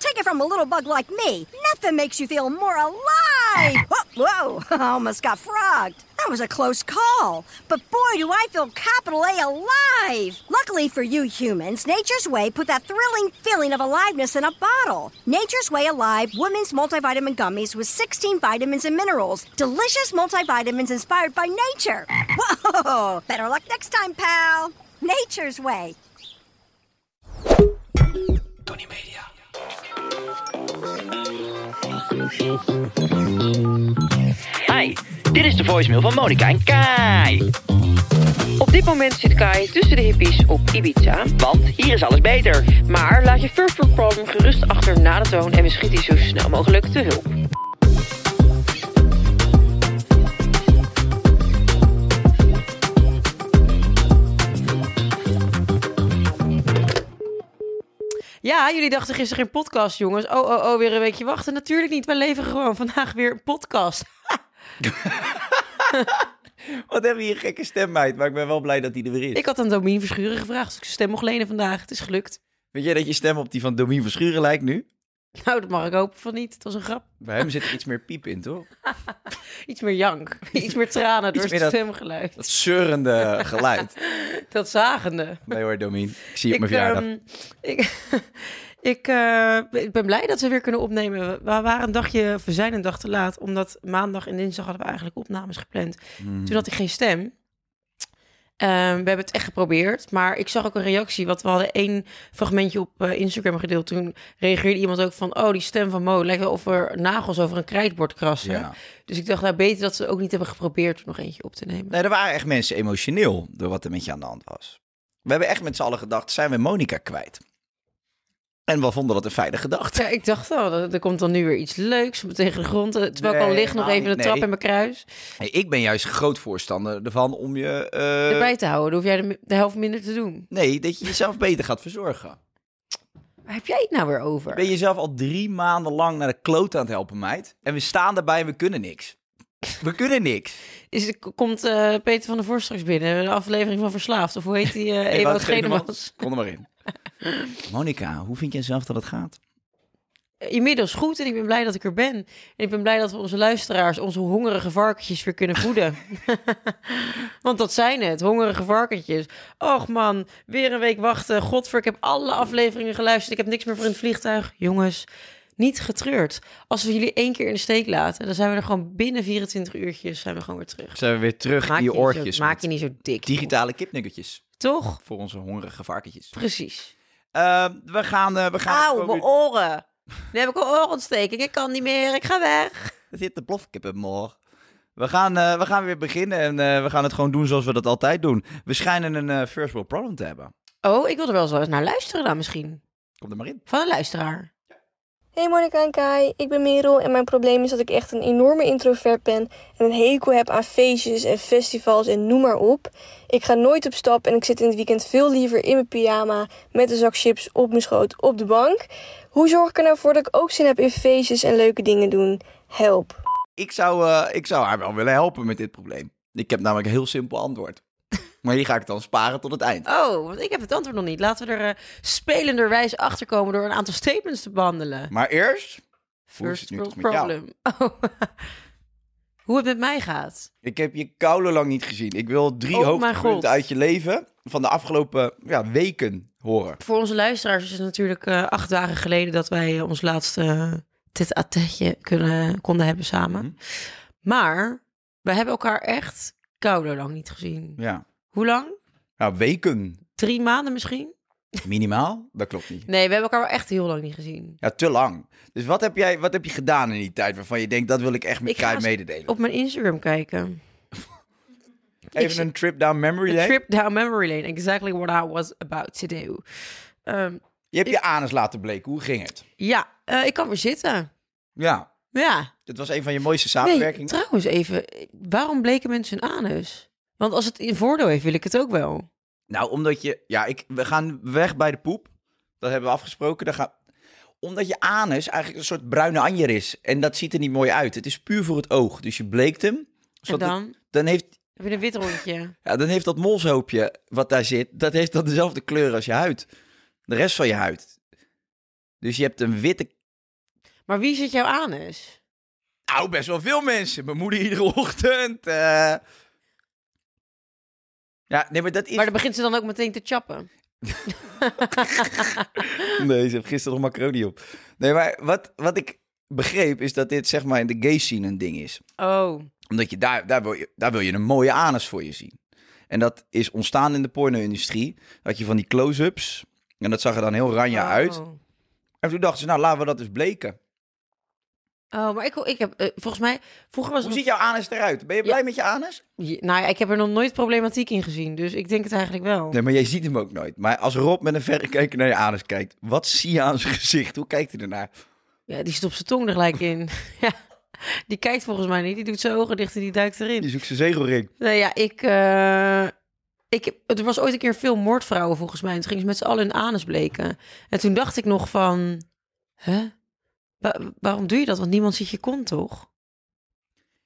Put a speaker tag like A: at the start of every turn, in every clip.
A: Take it from a little bug like me. Nothing makes you feel more alive. Oh, whoa, I almost got frogged. That was a close call. But boy, do I feel capital A alive. Luckily for you humans, Nature's Way put that thrilling feeling of aliveness in a bottle. Nature's Way Alive Women's Multivitamin Gummies with 16 vitamins and minerals. Delicious multivitamins inspired by nature. Whoa, better luck next time, pal. Nature's Way.
B: Tony Media.
C: Hi, dit is de voicemail van Monica en Kai. Op dit moment zit Kai tussen de hippies op Ibiza, want hier is alles beter. Maar laat je furfur problem gerust achter na de toon en we schieten je zo snel mogelijk te hulp.
D: Ja, jullie dachten gisteren geen podcast, jongens. Oh, oh, oh, weer een weekje wachten. Natuurlijk niet. We leven gewoon vandaag weer een podcast.
E: Wat hebben we hier een gekke stem uit, maar ik ben wel blij dat die er weer is.
D: Ik had aan Domien Verschuren gevraagd of ik zijn stem mocht lenen vandaag. Het is gelukt.
E: Weet jij dat je stem op die van Domien Verschuren lijkt nu?
D: Nou, dat mag ik hopen van niet. Het was een grap.
E: Bij hem zit er iets meer piep in, toch?
D: Iets meer jank. Iets meer tranen door
E: meer
D: het
E: dat-
D: stemgeluid.
E: Dat zeurende geluid.
D: Dat zagende.
E: Nee hoor, Domien. Ik zie je op
D: ik,
E: mijn verjaardag.
D: ehm, ik, ik, eh, ik ben blij dat we weer kunnen opnemen. We waren een dagje, we zijn een dag te laat, omdat maandag en dinsdag hadden we eigenlijk opnames gepland.
E: Mhm.
D: Toen had ik geen stem. Ehm, we hebben het echt geprobeerd, maar ik zag ook een reactie. Want we hadden één fragmentje op eh, Instagram gedeeld. Toen reageerde iemand ook van, oh, die stem van Mo, lijkt wel of we nagels over een krijtbord krassen.
E: Ja.
D: Dus ik dacht, nou, beter dat ze ook niet hebben geprobeerd om nog eentje op te nemen.
E: Nee, er waren echt mensen emotioneel door wat er met je aan de hand was. We hebben echt met z'n allen gedacht, zijn we Monica kwijt? En we vonden dat een fijne gedachte.
D: Ja, ik dacht al, er er komt dan nu weer iets leuks tegen de grond. eh, Terwijl ik al
E: Nee,
D: lig nog
E: helemaal
D: even de
E: niet.
D: trap
E: Nee.
D: in mijn kruis.
E: Hey, ik ben juist groot voorstander ervan om je... eh,
D: Erbij te houden, dan hoef jij de, mi- de helft minder te doen.
E: Nee, dat je jezelf beter gaat verzorgen.
D: Waar heb jij het nou weer over?
E: Ben je zelf al drie maanden lang naar de kloot aan het helpen, meid? En we staan daarbij en we kunnen niks. We kunnen niks.
D: Is, het- komt eh, Peter van der Vorst straks binnen? Een aflevering van Verslaafd? Of hoe heet die? eh Ewout Genemans?
E: Kom er maar in. Monica, hoe vind jij zelf dat het gaat?
D: Inmiddels goed en ik ben blij dat ik er ben. En ik ben blij dat we onze luisteraars, onze hongerige varkentjes weer kunnen voeden. Want dat zijn het, hongerige varkentjes. Och man, weer een week wachten. Godver, ik heb alle afleveringen geluisterd. Ik heb niks meer voor in het vliegtuig. Jongens, niet getreurd. Als we jullie één keer in de steek laten, dan zijn we er gewoon binnen 24 uurtjes zijn we gewoon weer terug.
E: Zijn we weer terug
D: Maak
E: in
D: je,
E: je
D: niet zo-
E: oortjes.
D: maak
E: met
D: je niet zo dik.
E: Digitale kipnuggetjes
D: Toch?
E: voor onze hongerige varkentjes.
D: Precies.
E: Eh, we gaan... eh, we gaan
D: Auw,
E: gewoon
D: mijn
E: weer-
D: oren. Nu heb ik een oorontsteking. Ik kan niet meer. Ik ga weg.
E: Het zit de plofkippen morgen. We gaan, eh, we gaan weer beginnen en eh, we gaan het gewoon doen zoals we dat altijd doen. We schijnen een eh, first world problem te hebben.
D: Oh, ik wil er wel eens naar luisteren dan misschien.
E: Kom er maar in.
D: Van een luisteraar.
F: Hey Monica en Kai, ik ben Merel en mijn probleem is dat ik echt een enorme introvert ben en een hekel heb aan feestjes en festivals en noem maar op. Ik ga nooit op stap en ik zit in het weekend veel liever in mijn pyjama met een zak chips op mijn schoot op de bank. Hoe zorg ik er nou voor dat ik ook zin heb in feestjes en leuke dingen doen? Help.
E: Ik zou, eh, ik zou haar wel willen helpen met dit probleem. Ik heb namelijk een heel simpel antwoord. Maar die ga ik dan sparen tot het eind.
D: Oh, want ik heb het antwoord nog niet. Laten we er eh, spelenderwijs achter komen door een aantal statements te behandelen.
E: Maar eerst... Hoe is het nu
D: world
E: toch met jou?
D: Oh. hoe het met mij gaat.
E: Ik heb je koude lang niet gezien. Ik wil drie
D: Oh, mijn God.
E: hoogtepunten uit je leven van de afgelopen ja, weken horen.
D: Voor onze luisteraars is het natuurlijk eh, acht dagen geleden dat wij eh, ons laatste dit attetje kunnen, konden hebben samen. Maar we hebben elkaar echt kouder lang niet gezien.
E: Ja.
D: Hoe lang?
E: Nou, weken
D: Drie maanden misschien?
E: minimaal? Dat klopt niet.
D: Nee, we hebben elkaar wel echt heel lang niet gezien.
E: Ja, te lang. Dus wat heb, jij, wat heb je gedaan in die tijd waarvan je denkt, dat wil ik echt met
D: Ik ga
E: Kai
D: eens
E: mededelen?
D: Op mijn Instagram kijken.
E: Even een trip down memory
D: A
E: lane.
D: trip down memory lane. Exactly what I was about to do. Ehm,
E: Je hebt je anus laten bleken. Hoe ging het?
D: ja, eh, ik kan weer zitten.
E: Ja,
D: Ja.
E: dit was een van je mooiste
D: Nee,
E: samenwerkingen.
D: trouwens even. Waarom bleken mensen hun anus? Want als het een voordeel heeft, wil ik het ook wel.
E: Nou, omdat je... Ja, ik, we gaan weg bij de poep. Dat hebben we afgesproken. Dan ga, omdat je anus eigenlijk een soort bruine anjer is. En dat ziet er niet mooi uit. Het is puur voor het oog. Dus je bleekt hem. zodat het-
D: dan?
E: dan, heeft,
D: Heb je een wit rondje?
E: ja, dan heeft dat molshoopje wat daar zit... dat heeft dan dezelfde kleur als je huid. De rest van je huid. Dus je hebt een witte...
D: Maar wie zit jouw anus?
E: Nou, best wel veel mensen. Mijn moeder iedere ochtend. eh. Ja, nee, maar dat is...
D: Maar dan begint ze dan ook meteen te chappen.
E: Nee, ze heeft gisteren nog macaroni op. Nee, maar wat, wat ik begreep is dat dit zeg maar in de gay scene een ding is.
D: Oh,
E: Omdat je daar, daar, wil je, daar wil je een mooie anus voor je zien. En dat is ontstaan in de porno-industrie. Dat je van die close-ups. En dat zag er dan heel ranja
D: Oh.
E: uit. En toen dachten ze, nou laten we dat eens bleken.
D: Oh, maar ik, ik heb eh, volgens mij vroeger was
E: Hoe
D: het
E: ziet jouw anus eruit? Ben je blij met je anus?
D: Je- Nou ja, ik heb er nog nooit problematiek in gezien, dus ik denk het eigenlijk wel.
E: Nee, maar jij ziet hem ook nooit. Maar als Rob met een verrekijker naar je anus kijkt, wat zie je aan zijn gezicht? Hoe kijkt hij ernaar?
D: Ja, die zit op zijn tong er gelijk in. ja, die kijkt volgens mij niet, die doet zijn ogen dicht en die duikt
E: Die
D: erin.
E: zoekt zijn zegelring.
D: Nee, ja, ik, eh, ik... Er was ooit een keer veel moordvrouwen volgens mij en toen gingen ze met z'n allen hun anus bleken. En toen dacht ik nog van, hè? Wa- waarom doe je dat? Want niemand ziet je kont, toch?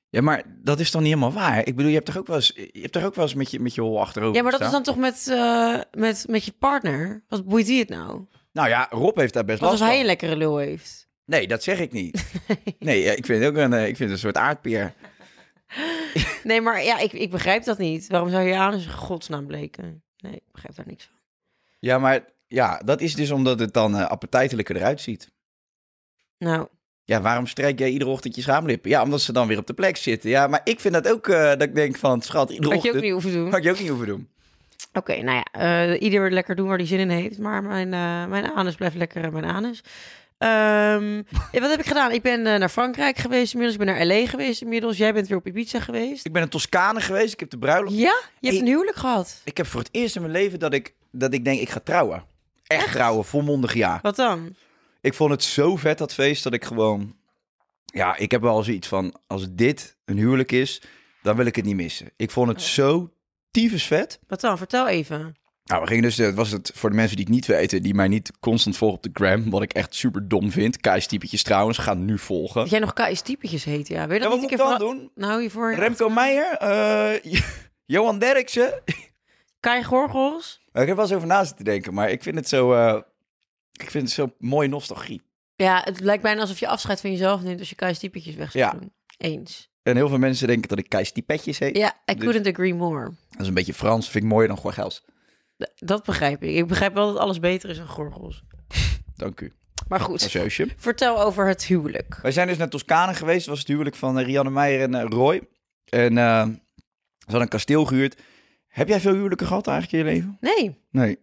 E: Ja, maar dat is dan niet helemaal waar. Ik bedoel, je hebt toch ook wel eens, je hebt toch ook wel eens met, je, met je hol achterover
D: Ja, maar dat is
E: gestaan?
D: dan toch met, eh, met, met je partner? Wat boeit die het nou?
E: Nou ja, Rob heeft daar best
D: Wat als
E: last
D: hij
E: van.
D: een lekkere lul heeft?
E: Nee, dat zeg ik niet. nee, ja, ik vind het ook een, eh, ik vind het een soort aardpeer.
D: Nee, maar ja, ik, ik begrijp dat niet. Waarom zou je anus in godsnaam bleken? Nee, ik begrijp daar niks van.
E: Ja, maar ja, dat is dus omdat het dan eh, appetijtelijker eruit ziet.
D: Nou,
E: Ja, waarom strijk jij iedere ochtend je schaamlippen? Ja, omdat ze dan weer op de plek zitten. Ja, maar ik vind dat ook, eh, dat ik denk van, schat, iedere
D: had je ook
E: ochtend...
D: niet hoeven doen.
E: Had
D: Oké,
E: je ook niet hoeven doen.
D: nou ja, eh, ieder lekker doen waar hij zin in heeft. Maar mijn, eh, mijn anus blijft lekker eh, mijn anus. Ehm, ja, wat heb ik gedaan? Ik ben eh, naar Frankrijk geweest inmiddels. Ik ben naar L.A. geweest inmiddels. Jij bent weer op Ibiza geweest.
E: Ik ben in Toscane geweest, ik heb de bruiloft...
D: Ja, je hebt
E: Ik-
D: een huwelijk gehad.
E: Ik heb voor het eerst in mijn leven dat ik, dat ik denk, ik ga trouwen. Echt, trouwen, volmondig ja.
D: Wat dan?
E: Ik vond het zo vet, dat feest, dat ik gewoon... Ja, ik heb wel zoiets van, als dit een huwelijk is, dan wil ik het niet missen. Ik vond het zo tyfus vet.
D: Wat dan? Vertel even.
E: Nou, we gingen dus, het was het voor de mensen die het niet weten, die mij niet constant volgen op de gram, wat ik echt super dom vind. Kai's typetjes trouwens, gaan nu volgen.
D: Dat jij nog KS typetjes heet, ja. Weet je
E: Ja,
D: dat niet
E: wat moet
D: een
E: ik
D: keer
E: dan
D: verha-
E: doen?
D: Nou, hiervoor...
E: Remco Meijer, eh, Johan Derksen, Nou,
D: Kai Gorgels.
E: Ik heb er wel eens over na zitten denken, maar ik vind het zo, eh, ik vind het zo mooi nostalgie.
D: Ja, het lijkt bijna alsof je afscheid van jezelf neemt als je KS typetjes weg zou
E: Ja.
D: doen. Eens.
E: En heel veel mensen denken dat ik Kei's petjes heet.
D: Ja, I
E: Dus-
D: couldn't agree more.
E: Dat is een beetje Frans, vind ik mooier dan Gorgels.
D: D- Dat begrijp ik. Ik begrijp wel dat alles beter is dan gorgels.
E: Dank u.
D: Maar goed,
E: Gracieusje.
D: vertel over het huwelijk.
E: Wij zijn dus naar Toscane geweest. Dat was het huwelijk van eh, Rianne Meijer en eh, Roy. En eh, ze hadden een kasteel gehuurd. Heb jij veel huwelijken gehad eigenlijk in je leven?
D: Nee,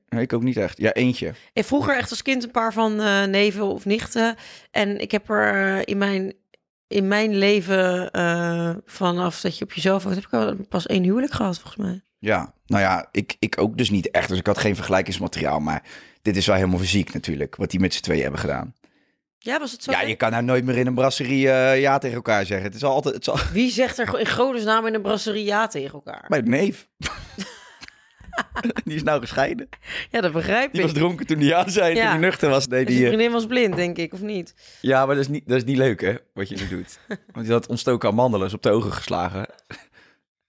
E: Nee, ik ook niet echt. Ja, eentje.
D: ik vroeger echt als kind een paar van eh, neven of nichten. En ik heb er eh, in mijn, in mijn leven eh, vanaf dat je op jezelf woont, heb ik al pas één huwelijk gehad volgens mij.
E: Ja, nou ja, ik, ik ook dus niet echt. Dus ik had geen vergelijkingsmateriaal. Maar dit is wel helemaal fysiek natuurlijk, wat die met z'n tweeën hebben gedaan.
D: Ja, was het zo?
E: Ja, je kan nou nooit meer in een brasserie eh, ja tegen elkaar zeggen. Het is altijd... Het is al...
D: Wie zegt er in godesnaam in een brasserie ja tegen elkaar?
E: Mijn neef. die is nou gescheiden.
D: Ja, dat begrijp
E: Die
D: ik.
E: was dronken toen hij ja zei.
D: Ja.
E: Toen hij nuchter was, deed
D: Dus je
E: hij... eh,
D: vriendin was blind, denk ik, of niet?
E: Ja, maar dat is, niet, dat is niet leuk, hè? Wat je nu doet. Want je had ontstoken amandelen, is op de ogen geslagen.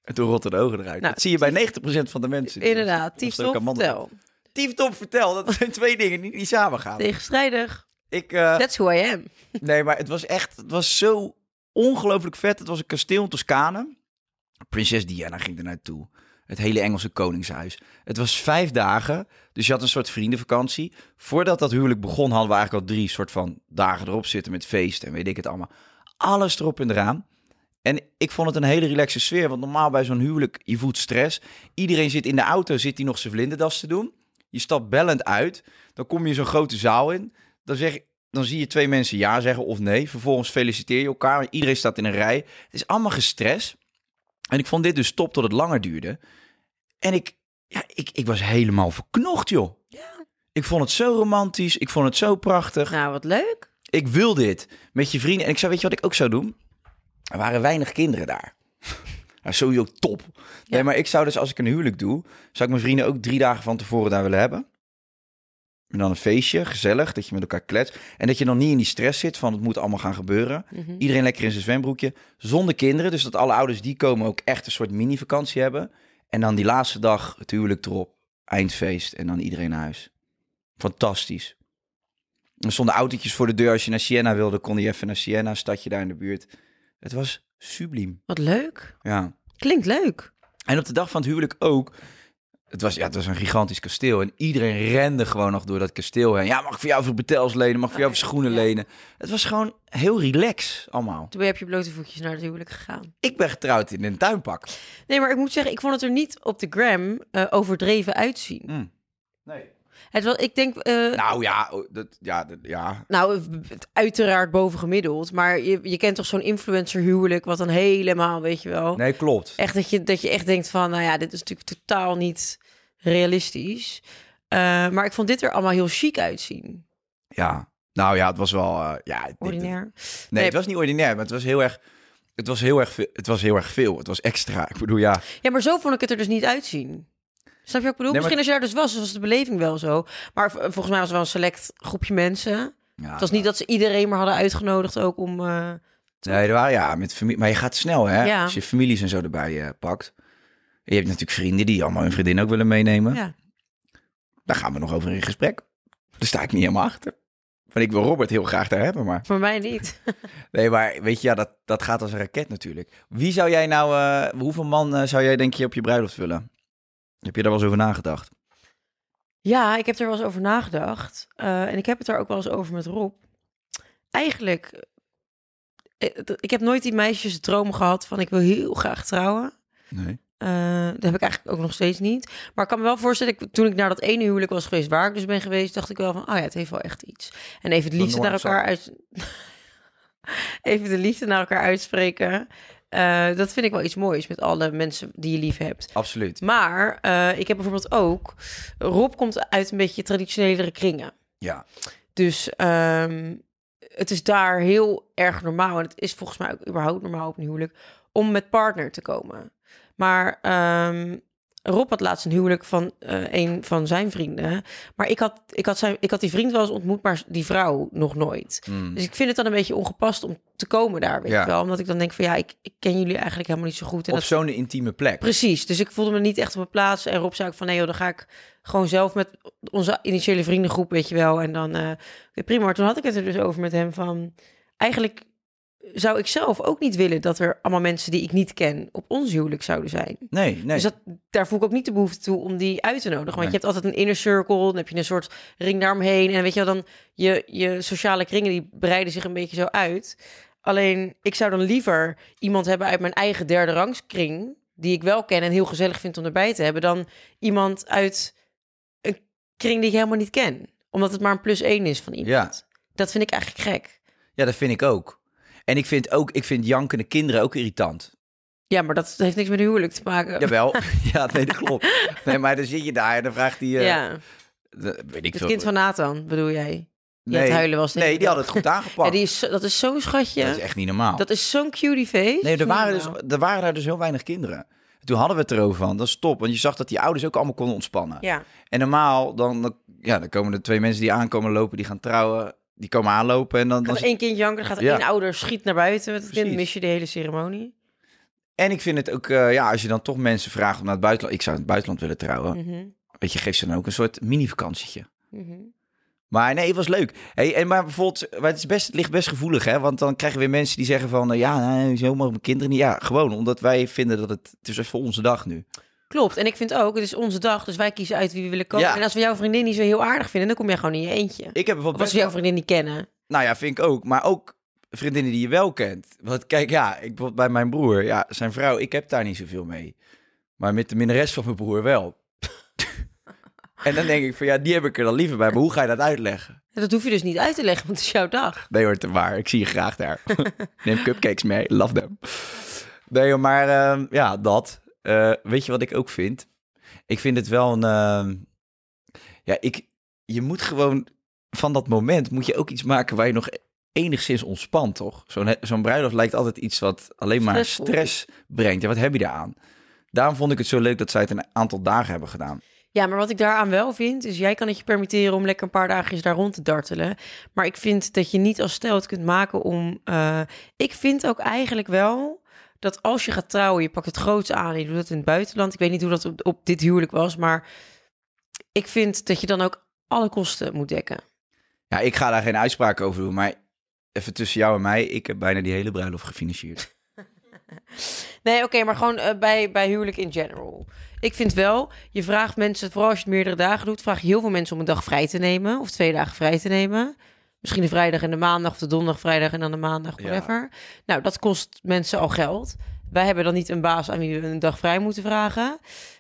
E: En toen rotten de ogen eruit.
D: Nou,
E: dat zie je bij 90% van de mensen. die
D: Inderdaad,
E: ontstoken
D: tiefstop,
E: amandelen.
D: vertel.
E: Tieftop vertel, dat zijn twee dingen die niet samen gaan.
D: Tegenstrijdig,
E: Ik, eh,
D: that's who I am.
E: nee, maar het was echt, het was zo ongelooflijk vet. Het was een kasteel in Toscane. Prinses Diana ging er naartoe. Het hele Engelse koningshuis. Het was vijf dagen, dus je had een soort vriendenvakantie. Voordat dat huwelijk begon, hadden we eigenlijk al drie soort van dagen erop zitten met feest en weet ik het allemaal. Alles erop en eraan. En ik vond het een hele relaxe sfeer, want normaal bij zo'n huwelijk, je voelt stress. Iedereen zit in de auto, zit die nog zijn vlinderdas te doen. Je stapt bellend uit, dan kom je zo'n grote zaal in. Dan, zeg, dan zie je twee mensen ja zeggen of nee. Vervolgens feliciteer je elkaar, iedereen staat in een rij. Het is allemaal gestres. En ik vond dit dus top tot het langer duurde. En ik, ja, ik, ik was helemaal verknocht, joh. Ik vond het zo romantisch, ik vond het zo prachtig.
D: Nou, wat leuk.
E: Ik wil dit met je vrienden. En ik zou, weet je wat ik ook zou doen? Er waren weinig kinderen daar. Nou, sowieso top. Nee, maar ik zou dus als ik een huwelijk doe, zou ik mijn vrienden ook drie dagen van tevoren daar willen hebben. En dan een feestje, gezellig, dat je met elkaar kletst. En dat je dan niet in die stress zit van het moet allemaal gaan gebeuren. Iedereen lekker in zijn zwembroekje, zonder kinderen. Dus dat alle ouders die komen ook echt een soort mini-vakantie hebben. En dan die laatste dag het huwelijk erop, eindfeest en dan iedereen naar huis. Fantastisch. Er stonden autootjes voor de deur. Als je naar Siena wilde, kon je even naar Siena, een stadje daar in de buurt. Het was subliem.
D: Wat leuk.
E: Ja.
D: Klinkt leuk.
E: En op de dag van het huwelijk ook. Het was, ja, het was een gigantisch kasteel. En iedereen rende gewoon nog door dat kasteel heen. Ja, mag ik voor jou voor betels lenen? Mag ik voor jou voor schoenen lenen? Het was gewoon heel relax allemaal.
D: Toen ben je op je blote voetjes naar het huwelijk gegaan.
E: Ik ben getrouwd in een tuinpak.
D: Nee, maar ik moet zeggen, ik vond het er niet op de gram eh, overdreven uitzien.
E: Nee.
D: Het was, ik denk, eh, nou,
E: Mm. Nou ja, oh, dat, ja, dat, ja.
D: het- uiteraard bovengemiddeld. Maar je, je kent toch zo'n influencer huwelijk, wat dan helemaal, weet je wel.
E: Nee, klopt.
D: Echt dat je, dat je echt denkt van, nou ja, dit is natuurlijk totaal niet realistisch. Eh, maar ik vond dit er allemaal heel chic uitzien.
E: Ja. Nou ja, het was wel... eh, ja, dit-
D: Ordinair.
E: Nee, het was niet ordinair, maar het was heel erg... Het was heel erg, ve- het was heel erg veel. Het was extra. Ik bedoel, ja.
D: Ja, maar zo vond ik het er dus niet uitzien. Snap je wat ik bedoel?
E: Nee, maar-
D: Misschien als je daar dus was, was de beleving wel zo. Maar v- volgens mij was het wel een select groepje mensen.
E: ja
D: het was niet dat ze iedereen maar hadden uitgenodigd ook om... eh,
E: Nee, er waren, ja, met familie. Maar je gaat snel, hè?
D: Ja.
E: Als je families en zo erbij eh, pakt. En je hebt natuurlijk vrienden die allemaal hun vriendin ook willen meenemen.
D: ja.
E: Daar gaan we nog over in gesprek. Daar sta ik niet helemaal achter. Want ik wil Robert heel graag daar hebben, maar...
D: Voor mij niet.
E: Nee, maar weet je, ja, dat, dat gaat als een raket natuurlijk. Wie zou jij nou... eh, hoeveel man eh, zou jij denk je op je bruiloft vullen? Heb je daar wel eens over nagedacht?
D: Ja, ik heb er wel eens over nagedacht. Eh, en ik heb het daar ook wel eens over met Rob. Eigenlijk, eh, d- ik heb nooit die meisjes droom gehad van ik wil heel graag trouwen.
E: Nee.
D: Eh, dat heb ik eigenlijk ook nog steeds niet. Maar ik kan me wel voorstellen, ik, toen ik naar dat ene huwelijk was geweest, waar ik dus ben geweest, dacht ik wel van, oh ja, het heeft wel echt iets. En even de
E: De
D: liefde naar
E: Noordzak.
D: elkaar uit... even de liefde naar elkaar uitspreken. Eh, dat vind ik wel iets moois met alle mensen die je lief hebt.
E: Absoluut.
D: Maar eh, ik heb bijvoorbeeld ook... Rob komt uit een beetje traditionelere kringen.
E: Ja.
D: Dus ehm, het is daar heel erg normaal. En het is volgens mij ook überhaupt normaal op een huwelijk... om met partner te komen. Maar ehm, Rob had laatst een huwelijk van eh, een van zijn vrienden. Maar ik had, ik, had zijn, ik had die vriend wel eens ontmoet... maar die vrouw nog nooit. Dus ik vind het dan een beetje ongepast om te komen daar, weet
E: Hmm. Ja.
D: je wel. Omdat ik dan denk van ja, ik, ik ken jullie eigenlijk helemaal niet zo goed. En
E: Op zo'n intieme plek.
D: Precies, dus ik voelde me niet echt op mijn plaats. En Rob zei ook van, nee joh, dan ga ik gewoon zelf met onze initiële vriendengroep, weet je wel. En dan, eh, oké, prima. Maar toen had ik het er dus over met hem van, eigenlijk zou ik zelf ook niet willen dat er allemaal mensen die ik niet ken op ons huwelijk zouden zijn.
E: Nee, nee.
D: Dus dat, daar voel ik ook niet de behoefte toe om die uit te nodigen. Want
E: Nee.
D: je hebt altijd een inner circle, dan heb je een soort ring daaromheen. En weet je wel, dan je, je sociale kringen die breiden zich een beetje zo uit. Alleen, ik zou dan liever iemand hebben uit mijn eigen derde rangskring... die ik wel ken en heel gezellig vind om erbij te hebben... dan iemand uit een kring die ik helemaal niet ken. Omdat het maar een plus één is van iemand. Dat vind ik eigenlijk gek.
E: Ja, dat vind ik ook. En ik vind ook, ik vind jankende kinderen ook irritant.
D: Ja, maar dat heeft niks met een huwelijk te maken.
E: Jawel. ja, nee, dat klopt. Nee, maar dan zit je daar en dan vraagt hij... eh,
D: ja.
E: de- weet ik
D: Het
E: veel.
D: kind van Nathan, bedoel jij? Die aan
E: Nee.
D: het huilen was. denk
E: Nee,
D: ik
E: die
D: wel.
E: hadden het goed aangepakt.
D: Ja, die is, zo- dat is zo'n schatje.
E: Dat is echt niet normaal.
D: Dat is zo'n cutie face.
E: Nee, er waren,
D: Niet
E: dus,
D: normaal.
E: er waren daar dus heel weinig kinderen. Toen hadden we het erover van. Dat is top. Want je zag dat die ouders ook allemaal konden ontspannen.
D: Ja.
E: En normaal, dan, dan- ja, dan komen er twee mensen die aankomen lopen, die gaan trouwen. Die komen aanlopen en dan... dan
D: Als één kind janken, dan gaat
E: Ja.
D: één ouder schiet naar buiten met het kind.
E: Precies.
D: mis je de hele ceremonie.
E: En ik vind het ook, eh, ja, als je dan toch mensen vraagt om naar het buitenland... Ik zou in het buitenland willen trouwen. Weet je, geef ze dan ook een soort mini-vakantietje. Maar nee, het was leuk. Hey, en maar bijvoorbeeld, eh, maar het, is best, het ligt best gevoelig, hè? Want dan krijgen we weer mensen die zeggen van... eh, ja, nee, zo mogen mijn kinderen niet. Ja, gewoon omdat wij vinden dat het... Het is even onze dag nu.
D: Klopt. En ik vind ook, het is onze dag, dus wij kiezen uit wie we willen komen.
E: Ja.
D: En als we jouw vriendin niet zo heel aardig vinden, dan kom jij gewoon in je eentje.
E: Ik heb bijvoorbeeld
D: of als
E: best
D: we jouw vriendin niet kennen.
E: Nou ja, vind ik ook. Maar ook vriendinnen die je wel kent. Want kijk, ja, ik bijvoorbeeld bij mijn broer, ja, zijn vrouw, ik heb daar niet zoveel mee. Maar met de minnares van mijn broer wel. en dan denk ik van ja, die heb ik er dan liever bij. Maar hoe ga je dat uitleggen?
D: En dat hoef je dus niet uit te leggen, want het is jouw dag.
E: Nee hoor, te waar. Ik zie je graag daar. Neem cupcakes mee. Love them. Nee hoor, maar ehm, ja, dat. Eh, weet je wat ik ook vind? Ik vind het wel een... ehm, ja, ik, je moet gewoon van dat moment moet je ook iets maken waar je nog enigszins ontspant, toch? Zo'n zo'n bruiloft lijkt altijd iets wat alleen maar
D: Stressvol.
E: stress brengt. Ja, wat heb je daaraan? Daarom vond ik het zo leuk dat zij het een aantal dagen hebben gedaan.
D: Ja, maar wat ik daaraan wel vind, is jij kan het je permitteren om lekker een paar dagjes daar rond te dartelen. Maar ik vind dat je niet als stel het kunt maken om... eh, ik vind ook eigenlijk wel dat als je gaat trouwen, je pakt het grootste aan en je doet dat in het buitenland. Ik weet niet hoe dat op, op dit huwelijk was, maar ik vind dat je dan ook alle kosten moet dekken.
E: Ja, ik ga daar geen uitspraak over doen, maar even tussen jou en mij, ik heb bijna die hele bruiloft gefinancierd.
D: Nee, oké, maar gewoon eh, bij, bij huwelijk in general. Ik vind wel, je vraagt mensen, vooral als je het meerdere dagen doet, vraag je heel veel mensen om een dag vrij te nemen of twee dagen vrij te nemen. Misschien de vrijdag en de maandag, of de donderdag, vrijdag en dan de maandag,
E: Ja.
D: whatever. Nou, dat kost mensen al geld. Wij hebben dan niet een baas aan wie we een dag vrij moeten vragen.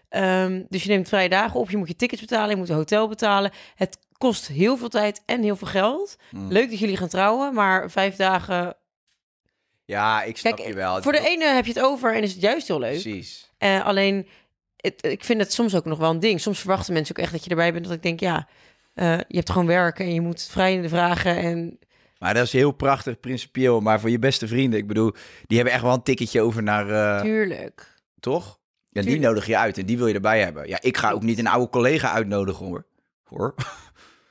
D: Ehm, dus je neemt vrije dagen op, je moet je tickets betalen, je moet een hotel betalen. Het kost heel veel tijd en heel veel geld. Leuk dat jullie gaan trouwen, maar vijf dagen...
E: Ja, ik snap
D: Kijk,
E: je wel. Het
D: voor
E: is
D: de
E: ook-
D: ene heb je het over en is het juist heel leuk.
E: Precies.
D: Eh, alleen, het- ik vind het soms ook nog wel een ding. Soms verwachten mensen ook echt dat je erbij bent. Dat ik denk, ja, eh, je hebt gewoon werk en je moet vrij in de vragen. En
E: Maar dat is heel prachtig, principieel. Maar voor je beste vrienden, ik bedoel, die hebben echt wel een ticketje over naar... eh,
D: tuurlijk.
E: toch? Ja, die
D: tuurlijk.
E: nodig je uit en die wil je erbij hebben. Ja, ik ga ook niet een oude collega uitnodigen, hoor. Hoor?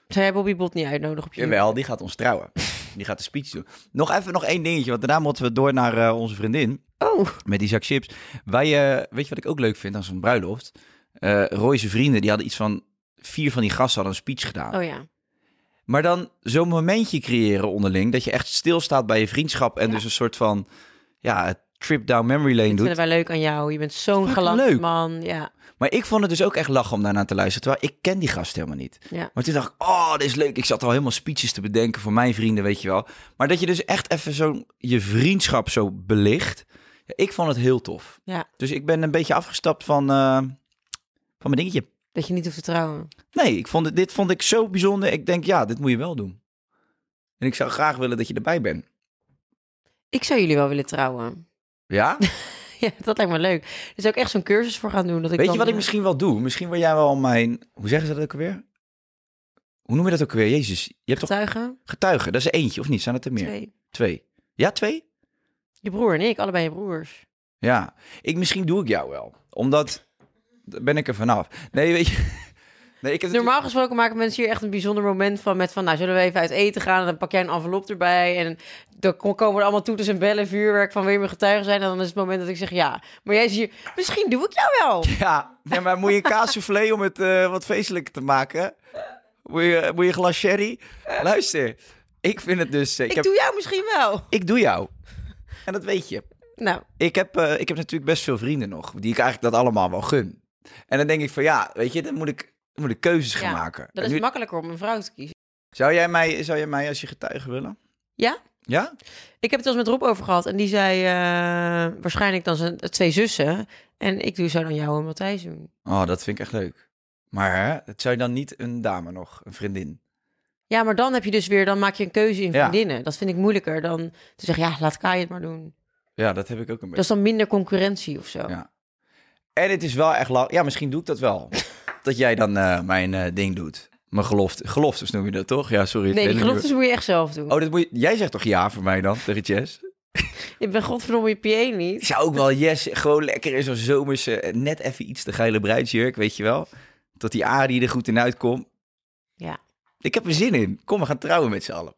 D: Zou jij Bobby Bot niet uitnodigen op je?
E: Jawel, die gaat ons trouwen. Die gaat de speech doen. Nog even nog één dingetje, want daarna moeten we door naar eh, onze vriendin.
D: Oh,
E: Met die zak chips. Wij, eh, weet je wat ik ook leuk vind aan zo'n bruiloft? Eh Roy's vrienden, die hadden iets van... Vier van die gasten hadden een speech gedaan.
D: oh ja.
E: Maar dan zo'n momentje creëren onderling. Dat je echt stilstaat bij je vriendschap. En dus een soort van ja, trip down memory lane
D: Dat
E: doet.
D: vinden wij leuk aan jou. Je bent zo'n
E: Fucking
D: galant
E: leuk.
D: man. Ja,
E: Maar ik vond het dus ook echt lachen om daarna te luisteren. Terwijl ik ken die gast helemaal niet.
D: ja.
E: Maar toen dacht ik, oh, dit is leuk. Ik zat al helemaal speeches te bedenken voor mijn vrienden, weet je wel. Maar dat je dus echt even zo'n je vriendschap zo belicht. Ja, ik vond het heel tof.
D: Ja.
E: Dus ik ben een beetje afgestapt van, eh, van mijn dingetje.
D: Dat je niet hoeft te trouwen.
E: Nee, ik vond het, dit vond ik zo bijzonder. Ik denk, ja, dit moet je wel doen. En ik zou graag willen dat je erbij bent.
D: Ik zou jullie wel willen trouwen.
E: Ja?
D: Ja, dat lijkt me leuk. Er is ook echt zo'n cursus voor gaan doen. Dat ik
E: Weet
D: dan,
E: je wat ik
D: eh,
E: misschien wel doe? Misschien wil jij wel mijn... Hoe zeggen ze dat ook alweer? Hoe noem je dat ook alweer? Jezus, je hebt toch
D: Getuigen?
E: getuigen? Dat is er eentje, of niet? Zijn het er meer?
D: Twee.
E: Twee. Ja, twee?
D: Je broer en ik, allebei je broers.
E: Ja. Ik, misschien doe ik jou wel. Omdat... Daar ben ik er vanaf. Nee, weet je... Nee, ik heb
D: Normaal gesproken maken mensen hier echt een bijzonder moment van. Met van, nou, zullen we even uit eten gaan? En dan pak jij een envelop erbij. En dan ko- komen er allemaal toeters en bellen, vuurwerk van weer mijn getuigen zijn. En dan is het moment dat ik zeg ja. Maar jij zegt hier, misschien doe ik jou wel.
E: Ja, nee, maar moet je een kaas soufflé om het eh, wat feestelijker te maken? Moet je, moet je een glas sherry? Luister, ik vind het dus... eh,
D: Ik,
E: ik, heb,
D: doe jou misschien wel.
E: ik doe jou. En dat weet je.
D: Nou,
E: ik heb, eh, ik heb natuurlijk best veel vrienden nog, die ik eigenlijk dat allemaal wel gun. En dan denk ik van ja, weet je, dan moet ik, dan moet ik keuzes gaan
D: ja,
E: maken.
D: dat
E: En
D: is
E: nu-
D: makkelijker om een vrouw te kiezen.
E: zou, jij mij, zou jij mij als je getuige willen?
D: Ja?
E: Ja?
D: Ik heb het wel eens met Rob over gehad. En die zei eh, waarschijnlijk dan zijn twee zussen. En ik doe zo dan jou en Matthijs doen.
E: Oh, dat vind ik echt leuk. Maar hè, het zou je dan niet een dame nog, een vriendin?
D: Ja, maar dan heb je dus weer, dan maak je een keuze in
E: Ja.
D: vriendinnen. Dat vind ik moeilijker dan te zeggen, ja, laat Kai het maar doen.
E: Ja, dat heb ik ook
D: Dat
E: een
D: is
E: beetje.
D: dan minder concurrentie of zo.
E: Ja. En het is wel echt lang. Ja, misschien doe ik dat wel. dat jij dan eh, mijn eh, ding doet. Mijn gelofte. Geloftes noem je dat toch? Ja, sorry. het
D: Nee, die
E: hele nieuwe-
D: geloftes moet je echt zelf doen.
E: Oh, dat moet je... jij zegt toch ja voor mij dan tegen Jess?
D: Ik ben godverdomme je PA
E: Ik
D: niet.
E: zou ook wel yes, gewoon lekker in zo'n zomerse, eh, net even iets te geile bruidsjurk, weet je wel. Dat die Arie er goed in uitkomt.
D: Ja.
E: Ik heb er zin in. Kom, we gaan trouwen met z'n allen.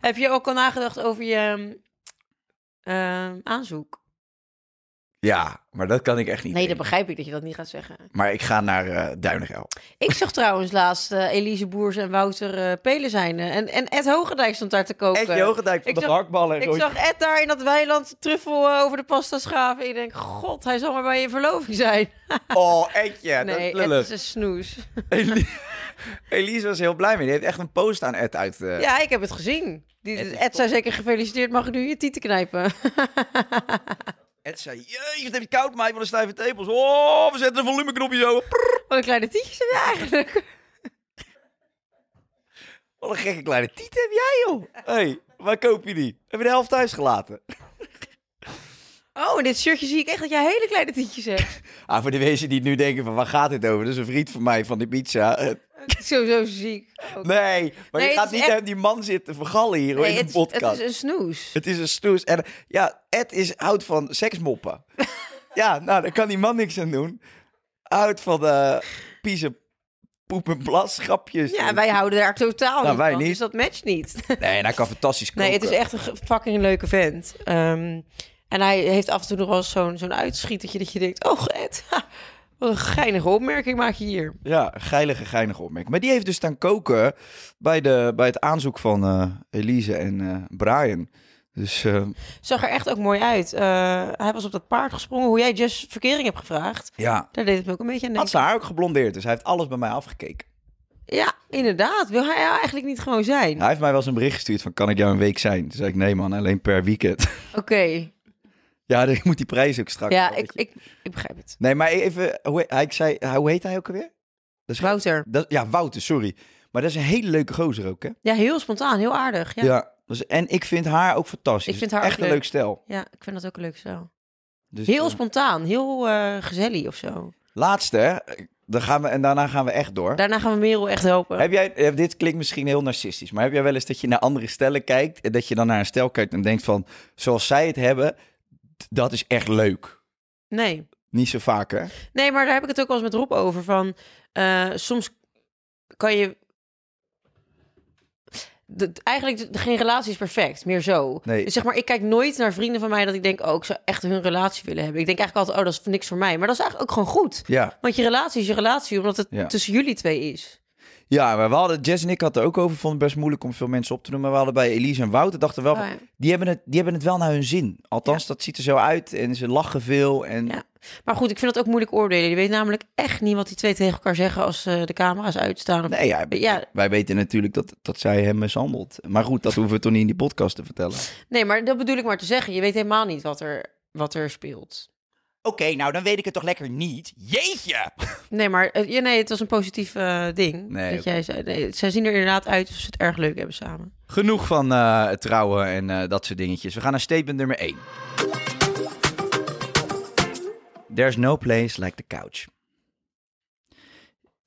D: Heb je ook al nagedacht over je ehm, ehm, aanzoek?
E: Ja, maar dat kan ik echt niet.
D: Nee, dat
E: denken.
D: begrijp ik dat je dat niet gaat zeggen.
E: Maar ik ga naar eh Duinigel.
D: Ik zag trouwens laatst eh, Elise Boers en Wouter eh Pelen zijn. eh, en, en Ed Hogendijk stond daar te koken.
E: Ed Jogendijk van
D: Ik
E: de
D: zag-
E: gehaktballen.
D: Ik zag Ed daar in dat weiland truffel eh, over de pasta schaven. Ik denk, god, hij zal maar bij je verloving zijn.
E: Oh, Edje, dat
D: nee,
E: is
D: Ed
E: lullig.
D: is een snoes.
E: Eli- Elise was er heel blij mee. Die heeft echt een post aan Ed uit. eh,
D: Ja, ik heb het gezien. Die,
E: Ed is
D: Ed zei zeker gefeliciteerd, mag ik nu je tieten knijpen?
E: Ed zei, jeetje, wat heb je koud, meid, van de stijve tepels. Oh, we zetten een volumeknopje zo.
D: Wat een kleine tietjes heb je eigenlijk.
E: Wat een gekke kleine tiet heb jij, joh. hey, waar koop je die? Heb je de helft thuis gelaten?
D: Oh, in dit shirtje zie ik echt dat jij hele kleine tietjes hebt.
E: Ah, voor de mensen die nu denken van, waar gaat dit over? Dat is een vriend van mij van de pizza. Eh,
D: zo, zo ziek.
E: Oh.
D: Ook.
E: nee, maar
D: Nee,
E: je
D: het
E: gaat
D: is
E: niet
D: echt-
E: hem die man zitten vergallen hier hoor,
D: Nee,
E: in
D: het,
E: de
D: is-
E: podcast.
D: het is een snoes.
E: Het is een snoes. En ja, Ed is, houdt van seksmoppen. ja, nou, daar kan die man niks aan doen. Houdt van de piezen, poepen, plas, grapjes.
D: Ja, wij houden daar totaal
E: Nou,
D: niet
E: wij
D: van,
E: niet.
D: dus dat matcht niet.
E: Nee, en hij kan fantastisch koken.
D: Nee, het is echt een ge- fucking leuke vent. Ehm, en hij heeft af en toe nog wel eens zo'n zo'n uitschietertje dat je denkt... Oh, Ed, ha, wat een geinige opmerking maak je hier.
E: Ja, geilige, geinige opmerking. Maar die heeft dus staan koken bij, de, bij het aanzoek van eh, Elise en eh, Brian. Dus eh,
D: Zag er echt ook mooi uit. Eh, hij was op dat paard gesprongen. Hoe jij Jess verkering hebt gevraagd,
E: ja,
D: daar deed het me ook een beetje aan
E: had
D: denken.
E: ze haar ook geblondeerd. Dus hij heeft alles bij mij afgekeken.
D: Ja, inderdaad. Wil hij nou eigenlijk niet gewoon zijn?
E: Hij heeft mij wel eens een bericht gestuurd van, kan ik jou een week zijn? Toen zei ik, nee man, alleen per weekend.
D: Oké.
E: ja, dan moet die prijs ook straks.
D: Ja,
E: wel, weet
D: ik,
E: je.
D: ik, ik begrijp het.
E: Nee, maar even, hoe, hij, ik zei, hoe heet hij ook alweer? Dat is,
D: Wouter.
E: dat, ja, Wouter, sorry. Maar dat is een hele leuke gozer ook, hè?
D: Ja, heel spontaan. Heel aardig. Ja,
E: Ja. dus, en ik vind haar ook fantastisch. Dus
D: Ik vind haar
E: Echt
D: ook
E: een
D: leuk.
E: leuk stel.
D: Ja, ik vind dat ook een leuk zo.
E: Dus,
D: Heel
E: eh,
D: spontaan. Heel eh gezellig of zo.
E: Laatste, hè? Dan gaan we, en daarna gaan we echt door.
D: Daarna gaan we Merel echt helpen.
E: Heb jij, eh, dit klinkt misschien heel narcistisch, maar heb jij wel eens dat je naar andere stellen kijkt en dat je dan naar een stel kijkt en denkt van, zoals zij het hebben, d- dat is echt leuk.
D: Nee.
E: Niet zo vaak, hè?
D: Nee, maar daar heb ik het ook wel eens met Rob over. Van, eh, soms kan je... De, eigenlijk, de- geen relatie is perfect. Meer zo.
E: Nee.
D: Dus zeg maar, ik kijk nooit naar vrienden van mij dat ik denk... Oh, ik zou echt hun relatie willen hebben. Ik denk eigenlijk altijd, oh, dat is niks voor mij. Maar dat is eigenlijk ook gewoon goed.
E: Ja.
D: Want je relatie is je relatie, omdat het
E: Ja.
D: tussen jullie twee is.
E: Ja, maar we hadden, Jess en ik hadden het ook over, vond het best moeilijk om veel mensen op te noemen. Maar we hadden bij Elise en Wouter, dachten we wel,
D: Oh,
E: van,
D: ja.
E: die, hebben het, die hebben het wel naar hun zin. Althans, dat ziet er zo uit en ze lachen veel. En
D: Ja. Maar goed, ik vind dat ook moeilijk oordelen. Je weet namelijk echt niet wat die twee tegen elkaar zeggen als eh, de camera's uitstaan. Of...
E: nee, ja,
D: Ja.
E: wij weten natuurlijk dat, dat zij hem mishandelt. Maar goed, dat hoeven we toch niet in die podcast te vertellen.
D: Nee, maar dat bedoel ik maar te zeggen. Je weet helemaal niet wat er, wat er speelt.
E: Oké, nou dan weet ik het toch lekker niet. Jeetje!
D: Nee, maar eh, ja, nee, het was een positief eh, ding.
E: Nee,
D: dat
E: oké.
D: jij zei, nee, zij zien er inderdaad uit alsof ze het erg leuk hebben samen.
E: Genoeg van eh, het trouwen en eh, dat soort dingetjes. We gaan naar statement nummer 1. There's no place like the couch.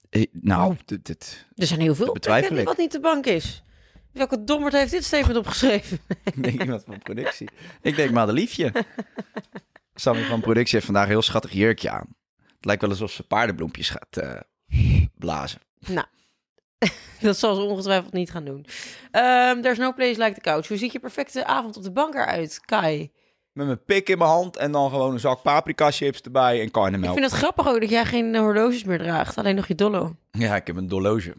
E: Eh, nou, dit, dit,
D: Er zijn heel veel
E: Dat betwijfel
D: plekken
E: ik.
D: wat niet de bank is. Welke dommerd heeft dit statement opgeschreven?
E: denk iemand van productie. Ik denk Madeliefje. Sammy van productie heeft vandaag een heel schattig jurkje aan. Het lijkt wel alsof ze paardenbloempjes gaat eh, blazen.
D: nou, dat zal ze ongetwijfeld niet gaan doen. Ehm There's no place like the couch. Hoe ziet je perfecte avond op de bank eruit, Kai?
E: Met mijn pik in mijn hand en dan gewoon een zak paprika chips erbij en
D: Ik
E: karnemelk.
D: vind het grappig ook dat jij geen eh, horloges meer draagt. Alleen nog je dollo.
E: Ja, ik heb een dolloge.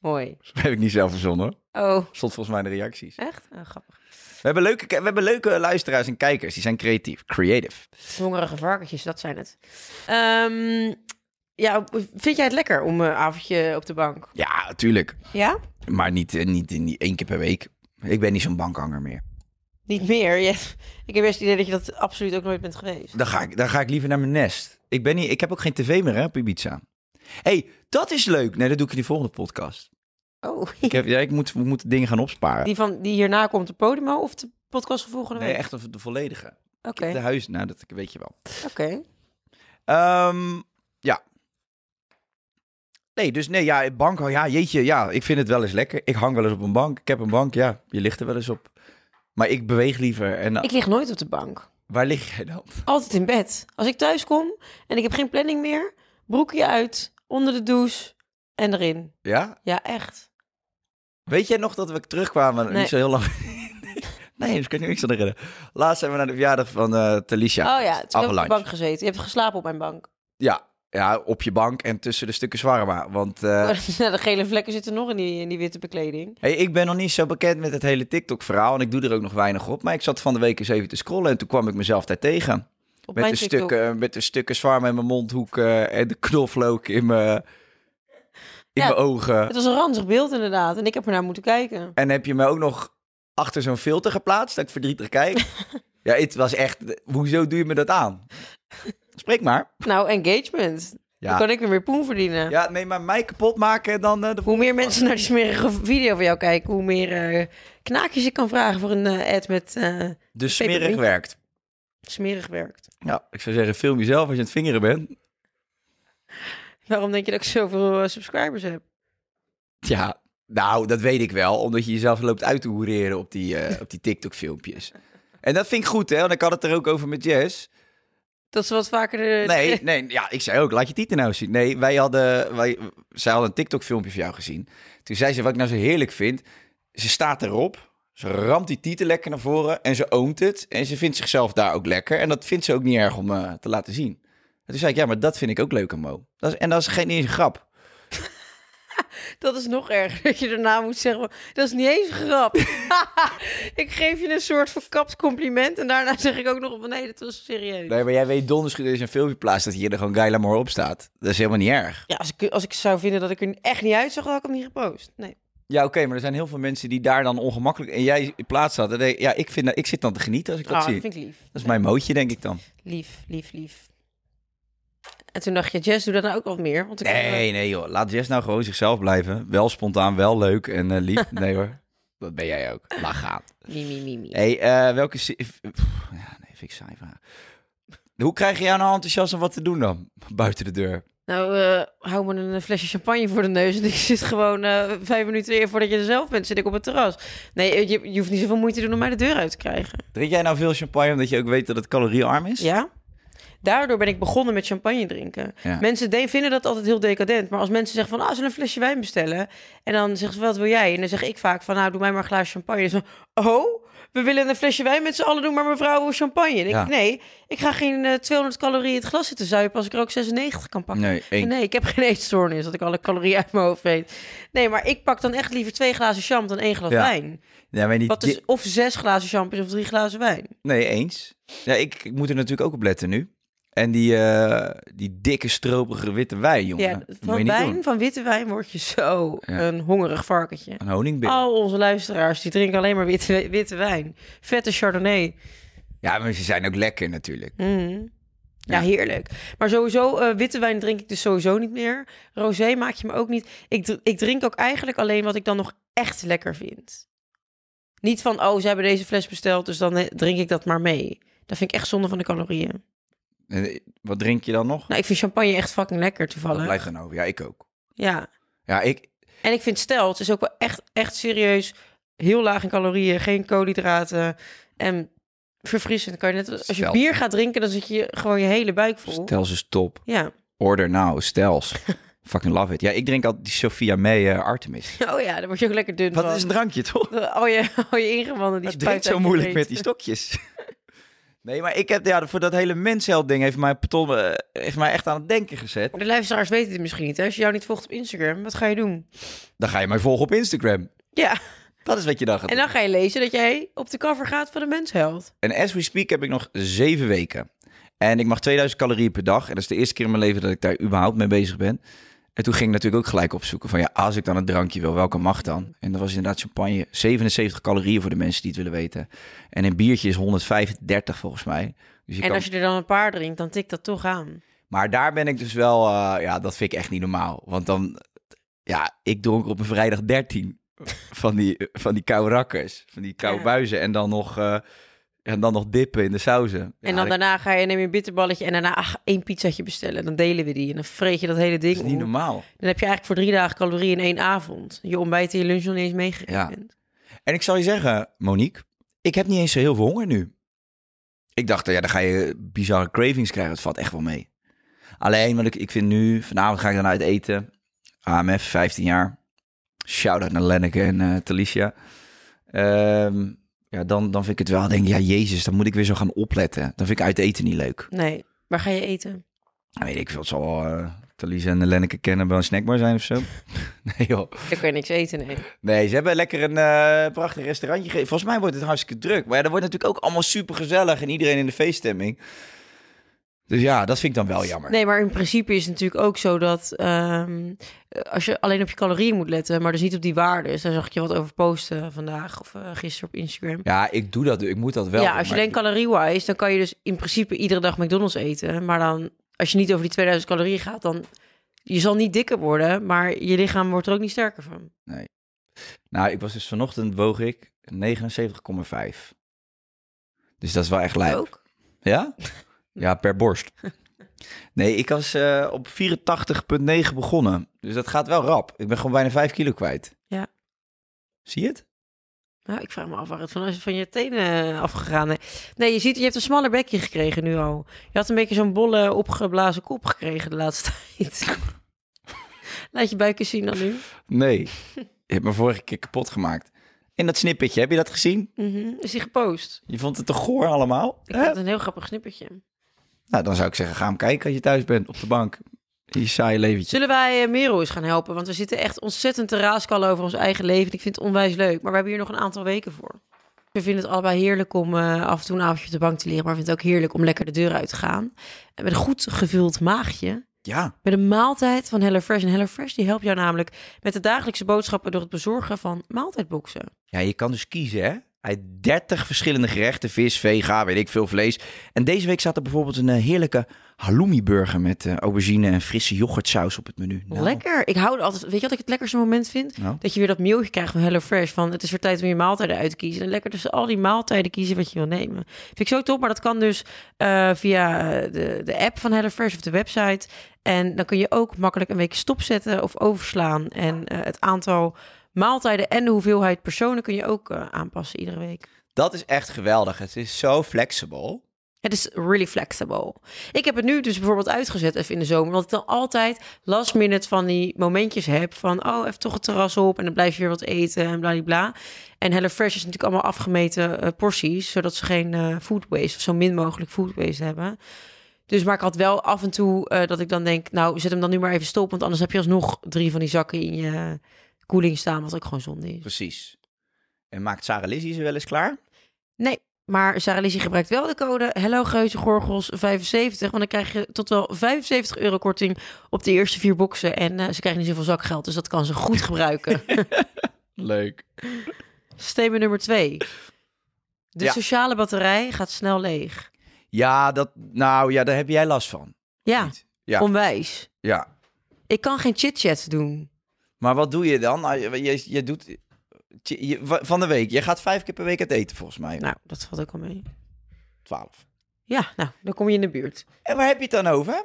D: Mooi.
E: Dat heb ik niet zelf verzonnen hoor.
D: Oh,
E: Stond volgens mij in de reacties.
D: echt? Oh, grappig.
E: We hebben, leuke, we hebben leuke luisteraars en kijkers. Die zijn creatief. Creative.
D: Hongerige varkentjes, dat zijn het. Ehm, ja, vind jij het lekker om een avondje op de bank?
E: Ja, natuurlijk.
D: Ja?
E: Maar niet, eh, niet, niet één keer per week. Ik ben niet zo'n bankhanger meer.
D: Niet meer. Je- ik heb best het idee dat je dat absoluut ook nooit bent geweest.
E: Dan ga ik, dan ga ik liever naar mijn nest. Ik, ben niet, ik heb ook geen tv meer hè, op Ibiza. hey, dat is leuk. Nee, dat doe ik in die volgende podcast.
D: Oh,
E: Ik, heb, ja, ik moet, we moeten dingen gaan opsparen.
D: die, van, die hierna komt de Podimo of de podcast van volgende
E: Nee,
D: week?
E: echt de volledige.
D: Oké,
E: De huis, nou, dat weet je wel.
D: oké.
E: Ehm, ja. Nee, dus nee, ja, bank, oh ja, jeetje, ja, ik vind het wel eens lekker. Ik hang wel eens op een bank. Ik heb een bank, ja, je ligt er wel eens op. Maar ik beweeg liever. En
D: Ik lig nooit op de bank.
E: waar lig jij dan?
D: Altijd in bed. Als ik thuis kom en ik heb geen planning meer, broekje uit, onder de douche en erin.
E: Ja?
D: Ja, echt.
E: Weet jij nog dat we terugkwamen,
D: Nee.
E: niet zo heel lang... Nee, ik kan nu niks aan herinneren. Laatst zijn we naar de verjaardag van eh Talisha.
D: oh ja, toen heb ik op de
E: Avalanche.
D: bank gezeten. Je hebt geslapen op mijn bank.
E: Ja, ja, op je bank en tussen de stukken zwarma. Want
D: Oh
E: eh,
D: de gele vlekken zitten nog in die, in die witte bekleding.
E: hey, ik ben nog niet zo bekend met het hele TikTok-verhaal. En ik doe er ook nog weinig op. Maar ik zat van de week eens even te scrollen. En toen kwam ik mezelf daar tegen.
D: Op
E: Met
D: mijn
E: de,
D: TikTok.
E: stukken, eh, met de stukken zwarma in mijn mondhoek. eh, en de knoflook in mijn, in
D: Ja,
E: mijn ogen.
D: Het was een ranzig beeld inderdaad. En ik heb er naar moeten kijken.
E: En heb je me ook nog achter zo'n filter geplaatst dat ik verdrietig kijk? ja, het was echt. Hoezo doe je me dat aan? Spreek maar.
D: Nou, engagement. Dan
E: Ja,
D: kan ik weer meer poen verdienen.
E: ja nee, maar mij kapot maken en dan eh, de
D: Hoe meer mensen naar die smerige video van jou kijken, hoe meer eh, knaakjes ik kan vragen voor een eh, ad met eh,
E: Dus smerig
D: Pepermint.
E: werkt.
D: smerig werkt.
E: Ja, ik zou zeggen, film jezelf als je aan het vingeren bent.
D: Waarom denk je dat ik zoveel eh, subscribers heb?
E: Ja, nou, dat weet ik wel. Omdat je jezelf loopt uit te hoereren op die, eh, op die TikTok-filmpjes. En dat vind ik goed, hè? Want ik had het er ook over met Jess.
D: Dat ze wat vaker de...
E: Nee, nee, ja, ik zei ook, laat je tieten nou zien. Nee, wij hadden, wij, zij hadden een TikTok-filmpje van jou gezien. Toen zei ze, wat ik nou zo heerlijk vind, ze staat erop, ze ramt die tieten lekker naar voren en ze oomt het. En ze vindt zichzelf daar ook lekker. En dat vindt ze ook niet erg om eh, te laten zien. En toen zei ik, ja, maar dat vind ik ook leuk aan Mo. Dat is, en dat is geen niet eens een grap.
D: Dat is nog erger, dat je daarna moet zeggen... maar, Dat is niet eens een grap. ik geef je een soort verkapt compliment... en daarna zeg ik ook nog van... Nee, dat was serieus.
E: Nee, maar jij weet donders goed, er is een filmpje plaats dat hier er gewoon Gaila Moore op staat. Dat is helemaal niet erg.
D: Ja, als ik, als ik zou vinden dat ik er echt niet uitzag... dan had ik hem niet gepost. Nee.
E: Ja, oké, maar er zijn heel veel mensen die daar dan ongemakkelijk... En jij in plaats staat. En denk ik, Ja, ik, vind, dat- ik zit dan te genieten als ik dat
D: Ah,
E: zie.
D: dat vind ik lief.
E: Dat is mijn mootje, denk ik dan.
D: Lief, lief, lief. En toen dacht je, Jess, doe dat nou ook wat meer. Want ik
E: Nee, nee joh. Laat Jess nou gewoon zichzelf blijven. Wel spontaan, wel leuk en eh, lief. Nee hoor. Dat ben jij ook. Laat gaan.
D: Mimi, mimi.
E: hey, eh, welke... se- f- pff, Ja, nee, vind ik saai vraag. Hoe krijg je jou nou enthousiast om wat te doen dan? Buiten de deur.
D: Nou, eh, hou me een flesje champagne voor de neus. En ik zit gewoon eh, vijf minuten eer voordat je er zelf bent, zit ik op het terras. Nee, je, je hoeft niet zoveel moeite te doen om mij de deur uit te krijgen.
E: Drink jij nou veel champagne omdat je ook weet dat het caloriearm is?
D: Ja? Daardoor ben ik begonnen met champagne drinken.
E: Ja.
D: Mensen de- vinden dat altijd heel decadent. Maar als mensen zeggen van, ah, zullen we een flesje wijn bestellen? En dan zeggen ze, wat wil jij? En dan zeg ik vaak van, nou, doe mij maar een glaasje champagne. En ze van, oh, we willen een flesje wijn met z'n allen doen, maar mevrouw wil champagne. En ik,
E: Ja.
D: nee, ik ga geen eh, 200 calorieën het glas zitten zuipen als ik er ook 96 kan pakken.
E: Nee, één.
D: Nee, ik heb geen eetstoornis dat ik alle calorieën uit mijn hoofd weet. Nee, maar ik pak dan echt liever twee glazen champ dan één glas
E: Ja.
D: wijn.
E: Ja, maar niet...
D: Wat is of zes glazen champ is of drie glazen wijn.
E: Nee, eens. Ja, ik, ik moet er natuurlijk ook op letten nu. En die, eh, die dikke, stroperige witte wijn, jongen.
D: Ja,
E: Dat moet je
D: van
E: niet
D: wijn,
E: doen.
D: van witte wijn word je zo
E: Ja.
D: een hongerig varkentje.
E: Een honingbin.
D: Al onze luisteraars die drinken alleen maar witte, witte wijn. Vette Chardonnay.
E: Ja, maar ze zijn ook lekker natuurlijk.
D: Mm. Ja, heerlijk. Maar sowieso, eh, witte wijn drink ik dus sowieso niet meer. Rosé maak je me ook niet. Ik, dr- ik drink ook eigenlijk alleen wat ik dan nog echt lekker vind. Niet van, oh, ze hebben deze fles besteld, dus dan eh, drink ik dat maar mee. Dat vind ik echt zonde van de calorieën.
E: En, eh, Wat drink je dan nog?
D: Nou, ik vind champagne echt fucking lekker
E: Dat
D: toevallig.
E: blijft dan over. Ja, ik ook.
D: Ja.
E: Ja, ik...
D: En ik vind stelt is ook wel echt, echt serieus heel laag in calorieën, geen koolhydraten en verfrissend. Kan je net, als je
E: Stelt.
D: bier gaat drinken, dan zit je gewoon je hele buik vol.
E: Stels is top.
D: Ja.
E: Order nou, stels. Fucking love it. Ja, ik drink altijd die Sophia May eh, Artemis.
D: Oh ja, dan word je ook lekker dun van.
E: Wat is een drankje, toch?
D: Al je, al je ingewanden die
E: Het drinkt
D: spuiten
E: zo
D: uit je
E: moeilijk
D: reet.
E: met die stokjes. Nee, maar ik heb ja, voor dat hele mensheld ding heeft mij, Paton, eh, heeft mij echt aan het denken gezet.
D: De luisteraars weten dit misschien niet. Hè? Als je jou niet volgt op Instagram, wat ga je doen?
E: Dan ga je mij volgen op Instagram.
D: Ja,
E: Dat is wat je dan gaat
D: en
E: doen.
D: dan ga je lezen dat jij op de cover gaat van de mensheld.
E: En as we speak heb ik nog zeven weken. En ik mag 2000 calorieën per dag. En dat is de eerste keer in mijn leven dat ik daar überhaupt mee bezig ben. En toen ging ik natuurlijk ook gelijk opzoeken van ja, als ik dan een drankje wil, welke mag dan? En dat was inderdaad champagne, 77 calorieën voor de mensen die het willen weten. En een biertje is 135 volgens mij. Dus je
D: En
E: kan...
D: als je er dan een paar drinkt, dan tikt dat toch aan.
E: Maar daar ben ik dus wel, eh, ja, dat vind ik echt niet normaal. Want dan, ja, ik dronk op een vrijdag 13 van die, van die koude rakkers, van die koude
D: Ja.
E: buizen. En dan nog, eh, en dan nog dippen in de sauzen. Ja,
D: en dan
E: dat-
D: daarna ga je neem je een bitterballetje en daarna ach, één pizzaatje bestellen. Dan delen we die en dan vreet je dat hele ding
E: Dat is niet
D: op.
E: normaal.
D: Dan heb je eigenlijk voor drie dagen calorieën in één avond. Je ontbijt en je lunch nog niet eens meegekregen
E: Ja.
D: bent.
E: En ik zal je zeggen, Monique, ik heb niet eens zo heel veel honger nu. Ik dacht, ja, dan ga je bizarre cravings krijgen. Het valt echt wel mee. Alleen, want ik, ik vind nu, vanavond ga ik dan uit eten. AMF, 15 jaar. Shout-out naar Lenneke en eh Talicia. Ehm, Ja, dan, dan vind ik het wel, denk ik, ja, Jezus, dan moet ik weer zo gaan opletten. Dan vind ik uit eten niet leuk.
D: Nee. Waar ga je eten?
E: Dan weet ik veel, het zal wel eh, Thalys en Lenneke kennen bij een snackbar zijn of zo. nee joh.
D: Ik kan je niks eten, nee.
E: Nee, ze hebben lekker een eh, prachtig restaurantje. ge- Volgens mij wordt het hartstikke druk. Maar ja, dat wordt natuurlijk ook allemaal super gezellig en iedereen in de feeststemming. Dus ja, dat vind ik dan wel jammer.
D: Nee, maar in principe is het natuurlijk ook zo dat ehm, als je alleen op je calorieën moet letten, maar dus niet op die waarden. Daar zag ik je wat over posten vandaag of eh, gisteren op Instagram.
E: Ja, ik doe dat. Ik moet dat wel.
D: ja, als je
E: maar-
D: denkt calorie-wise, dan kan je dus in principe iedere dag McDonald's eten. Maar dan, als je niet over die 2000 calorieën gaat, dan... Je zal niet dikker worden, maar je lichaam wordt er ook niet sterker van.
E: Nou, ik was dus vanochtend woog ik 79,5. Dus dat is wel echt lijp.
D: Ook?
E: Ja? Ja, per borst. Nee, ik was eh, op 84,9 begonnen. Dus dat gaat wel rap. Ik ben gewoon bijna 5 kilo kwijt.
D: Ja.
E: Zie je het?
D: Nou, ik vraag me af waar het van, van je tenen eh, afgegaan is. Nee, je ziet, je hebt een smaller bekje gekregen nu al. Je had een beetje zo'n bolle, opgeblazen kop gekregen de laatste tijd. Laat je buikjes zien dan nu.
E: Nee. Je hebt me vorige keer kapot gemaakt. En dat snippetje, heb je dat gezien?
D: Mhm. Is die gepost?
E: Je vond het te goor allemaal?
D: Ik
E: Hè?
D: vond het een heel grappig snippertje.
E: Nou, dan zou ik zeggen, ga hem kijken als je thuis bent op de bank. Je saaie leventje.
D: Zullen wij eh, Merel eens gaan helpen? Want we zitten echt ontzettend te raaskallen over ons eigen leven. Ik vind het onwijs leuk, maar we hebben hier nog een aantal weken voor. We vinden het allebei heerlijk om eh, af en toe een avondje op de bank te liggen. Maar we vinden het ook heerlijk om lekker de deur uit te gaan. En met een goed gevuld maagje
E: Ja,
D: met een maaltijd van HelloFresh. En HelloFresh die helpt jou namelijk met de dagelijkse boodschappen door het bezorgen van maaltijdboxen.
E: Ja, je kan dus kiezen, hè? Uit 30 verschillende gerechten, vis, vega, weet ik veel, vlees. En deze week zat er bijvoorbeeld een eh, heerlijke halloumi-burger met eh, aubergine en frisse yoghurtsaus op het menu. Nou,
D: Lekker. Ik hou er altijd. Weet je wat ik het lekkerste moment vind?
E: Nou.
D: Dat je weer dat mailtje krijgt van HelloFresh. Van het is weer tijd om je maaltijden uit te kiezen. En lekker tussen al die maaltijden kiezen wat je wil nemen. Vind ik zo top. Maar dat kan dus eh, via de, de app van HelloFresh of de website. En dan kun je ook makkelijk een week stopzetten of overslaan. En eh, het aantal maaltijden en de hoeveelheid personen kun je ook eh, aanpassen iedere week.
E: Dat is echt geweldig. Het is zo flexibel.
D: Het is really flexible. Ik heb het nu dus bijvoorbeeld uitgezet even in de zomer. Want ik dan altijd last minute van die momentjes heb. Van oh, even toch het terras op. En dan blijf je weer wat eten en bladibla. En HelloFresh is natuurlijk allemaal afgemeten eh, porties. Zodat ze geen eh, food waste of zo min mogelijk food waste hebben. Dus maar ik had wel af en toe eh, dat ik dan denk... nou, zet hem dan nu maar even stop. Want anders heb je alsnog drie van die zakken in je koeling staan. Wat ook gewoon zonde is.
E: Precies. En maakt Sarah Lizzie ze wel eens klaar?
D: Nee, maar Sarah Lizzie gebruikt wel de code Hello Geuze Gorgels 75. Want dan krijg je tot wel 75 euro korting op de eerste vier boxen. En eh, ze krijgen niet zoveel zakgeld, dus dat kan ze goed gebruiken.
E: Leuk.
D: Statement nummer twee. De
E: Ja.
D: sociale batterij gaat snel leeg.
E: Ja, dat, nou ja, daar heb jij last van.
D: Ja,
E: Ja,
D: onwijs.
E: ja.
D: Ik kan geen chit-chat doen.
E: Maar wat doe je dan? Ah, Je, je, je doet... je- je- van de week. Je gaat vijf keer per week uit eten, volgens mij.
D: Nou, dat valt ook al mee.
E: Twaalf.
D: Ja, nou, dan kom je in de buurt.
E: En waar heb je het dan over?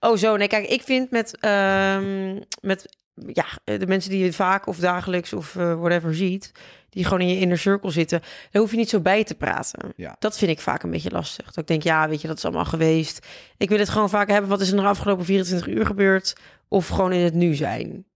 D: Oh, zo. Nee, kijk, ik vind met, ehm, met ja, de mensen die je vaak of dagelijks of eh, whatever ziet, die gewoon in je inner circle zitten, daar hoef je niet zo bij te praten.
E: Ja.
D: Dat vind ik vaak een beetje lastig. Dat ik denk, ja, weet je, dat is allemaal geweest. Ik wil het gewoon vaak hebben, wat is er de afgelopen 24 uur gebeurd? Of gewoon in het nu zijn.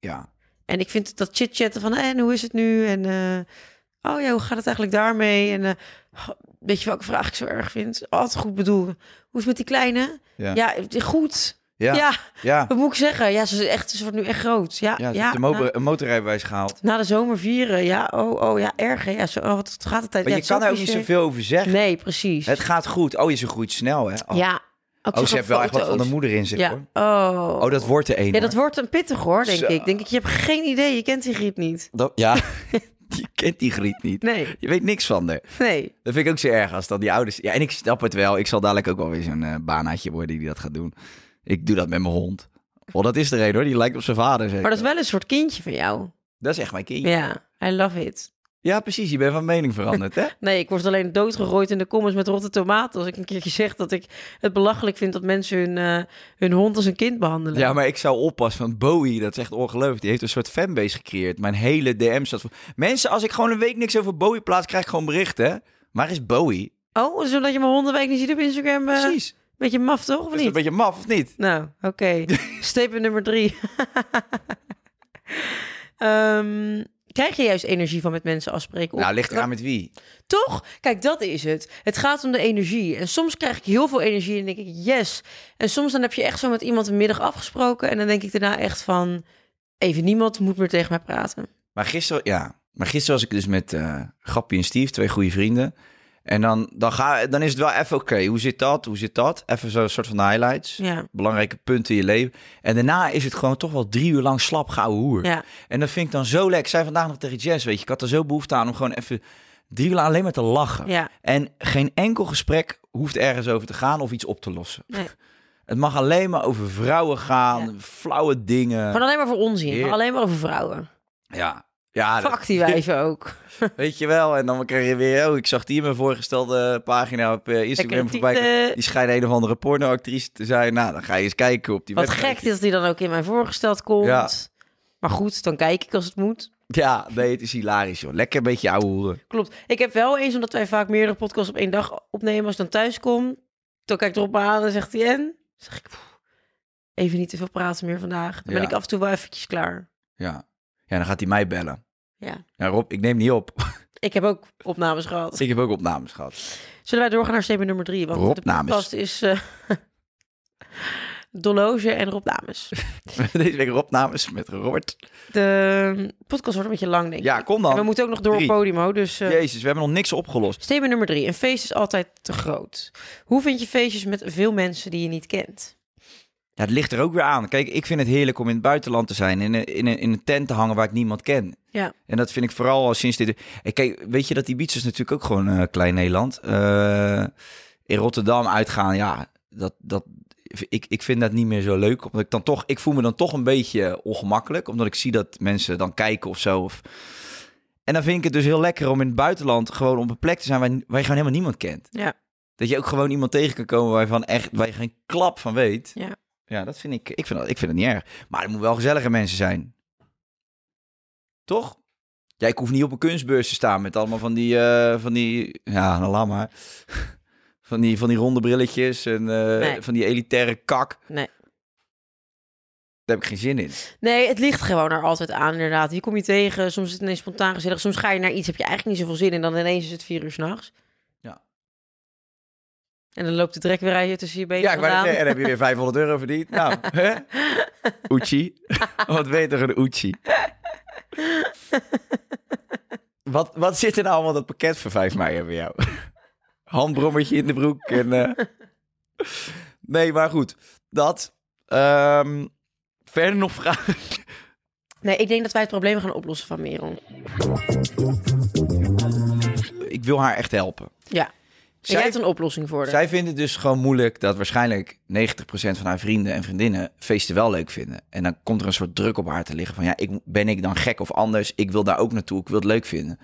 E: Ja.
D: En ik vind dat chit-chatten van, en hoe is het nu? En, eh, oh ja, hoe gaat het eigenlijk daarmee? En eh, goh, weet je welke vraag ik zo erg vind? Altijd goed bedoel. Hoe is het met die kleine?
E: Ja.
D: ja goed.
E: Ja.
D: ja.
E: Ja,
D: Wat moet ik zeggen? Ja, ze, is echt, ze wordt nu echt groot. Ja,
E: ja,
D: ja, nou-
E: ze heeft de
D: na,
E: motor, een motorrijbewijs gehaald.
D: na de zomer vieren. Ja, oh, oh ja, erg. hè. Ja, zo, oh, wat gaat de tijd?
E: Maar
D: ja,
E: je
D: het is
E: kan er ook niet
D: cliché.
E: zoveel over zeggen.
D: Nee, precies.
E: Het gaat goed. Oh, je ze groeit snel, hè? Oh,
D: Ja. Ook
E: oh
D: zo'n
E: ze heeft wel echt wat van de
D: foto's.
E: moeder in zich, hoor.
D: Ja. Oh.
E: Oh, dat wordt er een.
D: ja, dat
E: hoor.
D: wordt een pittig hoor, denk
E: Zo.
D: ik. Denk ik, je hebt geen idee. Je kent die griet niet.
E: Dat- ja, je kent die griet niet.
D: Nee,
E: Je weet niks van haar.
D: nee.
E: Dat vind ik ook zo erg als dan die ouders... Ja, en ik snap het wel. Ik zal dadelijk ook wel weer zo'n eh banaatje worden die dat gaat doen. Ik doe dat met mijn hond. Oh, dat is er een, hoor. Die lijkt op zijn vader, zeker.
D: Maar dat is wel een soort kindje van jou.
E: Dat is echt mijn kindje. Ja.
D: Ja, I love it.
E: precies. Je bent van mening veranderd, hè?
D: Nee, ik word alleen doodgegooid in de comments met rotte tomaten. Als ik een keertje zeg dat ik het belachelijk vind dat mensen hun, eh, hun hond als een kind behandelen.
E: Ja, maar ik zou oppassen, want Bowie, dat is echt ongelooflijk. Die heeft een soort fanbase gecreëerd. Mijn hele DM staat vol. Mensen, als ik gewoon een week niks over Bowie plaats, krijg ik gewoon berichten. hè? Waar is Bowie?
D: Oh, dus omdat je mijn hondenwijk niet ziet op Instagram. eh,
E: Precies.
D: Beetje maf toch, of
E: Dat is een
D: niet?
E: beetje maf, of niet?
D: Nou, oké. Statement nummer drie. Ehm, krijg je juist energie van met mensen afspreken. Of-
E: Nou, ligt eraan met wie.
D: Toch? Kijk, dat is het. Het gaat om de energie. En soms krijg ik heel veel energie en denk ik, yes. En soms dan heb je echt zo met iemand een middag afgesproken. En dan denk ik daarna echt van, even niemand moet meer tegen mij praten.
E: Maar gisteren, ja. Maar gisteren was ik dus met eh Grappie en Steve, twee goede vrienden. En dan, dan, ga, dan is het wel even, oké, hoe zit dat? Hoe zit dat? Even zo'n soort van de highlights.
D: Ja.
E: Belangrijke punten in je leven. En daarna is het gewoon toch wel drie uur lang slap gouden hoer.
D: Ja.
E: En dat vind ik dan zo lekker. Ik zei vandaag nog tegen Jess, weet je, ik had er zo behoefte aan om gewoon even drie uur lang alleen maar te lachen.
D: Ja.
E: En geen enkel gesprek hoeft ergens over te gaan of iets op te lossen.
D: Nee.
E: Het mag alleen maar over vrouwen gaan,
D: Ja.
E: flauwe dingen.
D: Gewoon alleen maar voor onzin.
E: Heer-
D: Maar alleen maar over vrouwen.
E: Ja. Ja, dat-
D: Fuck die wijven ook.
E: Weet je wel, en dan kreeg je weer... Oh, ik zag die in mijn voorgestelde pagina op eh, Instagram
D: Lekker
E: voorbij. komen.
D: tieten.
E: Die schijnt een of andere pornoactrice te zijn. Nou, dan ga je eens kijken op die
D: Wat
E: website.
D: gek is dat die dan ook in mijn voorgesteld komt.
E: Ja.
D: Maar goed, dan kijk ik als het moet.
E: Ja, nee, het is hilarisch, joh. Lekker een beetje ouwe hoeren.
D: Klopt. Ik heb wel eens, omdat wij vaak meerdere podcasts op één dag opnemen, als ik dan thuis kom, dan kijk ik erop aan en zegt hij en? Dan zeg ik, "Poeh, even niet te veel praten meer vandaag. Dan ben
E: Ja.
D: ik af en toe wel eventjes klaar.
E: Ja. Ja, dan gaat hij mij bellen.
D: Ja.
E: Ja, Rob, ik neem niet op.
D: Ik heb ook opnames gehad.
E: ik heb ook opnames gehad.
D: Zullen wij doorgaan naar statement nummer drie? Want
E: Robnames.
D: de podcast is eh Dolloge en Rob Dames.
E: Deze week opnames met Robert.
D: De podcast wordt een beetje lang, denk ik.
E: Ja, kom dan.
D: En we moeten ook nog door op
E: Drie.
D: Podimo, dus... eh,
E: Jezus, we hebben nog niks opgelost.
D: Statement nummer drie. Een feest is altijd te groot. Hoe vind je feestjes met veel mensen die je niet kent?
E: Ja, het ligt er ook weer aan. Kijk, ik vind het heerlijk om in het buitenland te zijn. In een, in een, in een tent te hangen waar ik niemand ken.
D: Ja.
E: En dat vind ik vooral al sinds dit... En kijk, weet je dat Ibiza is natuurlijk ook gewoon eh, klein Nederland. Eh, in Rotterdam uitgaan, ja, dat... dat ik, ik vind dat niet meer zo leuk. Omdat ik dan toch... Ik voel me dan toch een beetje ongemakkelijk. Omdat ik zie dat mensen dan kijken of zo. Of... En dan vind ik het dus heel lekker om in het buitenland gewoon op een plek te zijn waar, waar je gewoon helemaal niemand kent.
D: Ja.
E: Dat je ook gewoon iemand tegen kan komen waarvan echt, waar je geen klap van weet.
D: Ja.
E: Ja, dat vind ik. Ik vind dat, ik vind dat niet erg. Maar er moeten wel gezellige mensen zijn. Toch? Ja, ik hoef niet op een kunstbeurs te staan met allemaal van die. eh, van die ja, nou laat maar. Van die, van die ronde brilletjes en eh,
D: Nee.
E: van die elitaire kak.
D: Nee.
E: Daar heb ik geen zin in.
D: Nee, het ligt gewoon er altijd aan, inderdaad. Hier kom je tegen, soms is het ineens spontaan gezellig. Soms ga je naar iets, heb je eigenlijk niet zoveel zin in. En dan ineens is het vier uur s'nachts.
E: Ja.
D: En dan loopt de trek weer uit je tussen je benen
E: Ja, ik wou net
D: vandaan.
E: zeggen, en dan heb je weer 500 euro verdiend. Nou, hè? Uchi. Wat weet er een Uchi? Wat, wat zit er nou allemaal dat pakket voor 5 mei hebben bij jou? Handbrommertje in de broek en... eh. Nee, maar goed. Dat. Ehm, verder nog vragen?
D: Nee, ik denk dat wij het probleem gaan oplossen van Merel.
E: Ik wil haar echt helpen.
D: Ja. En
E: Zij-
D: jij hebt een oplossing voor haar.
E: Zij vinden het dus gewoon moeilijk dat waarschijnlijk 90% van haar vrienden en vriendinnen feesten wel leuk vinden. En dan komt er een soort druk op haar te liggen van ja, ik, ben ik dan gek of anders? Ik wil daar ook naartoe, ik wil het leuk vinden.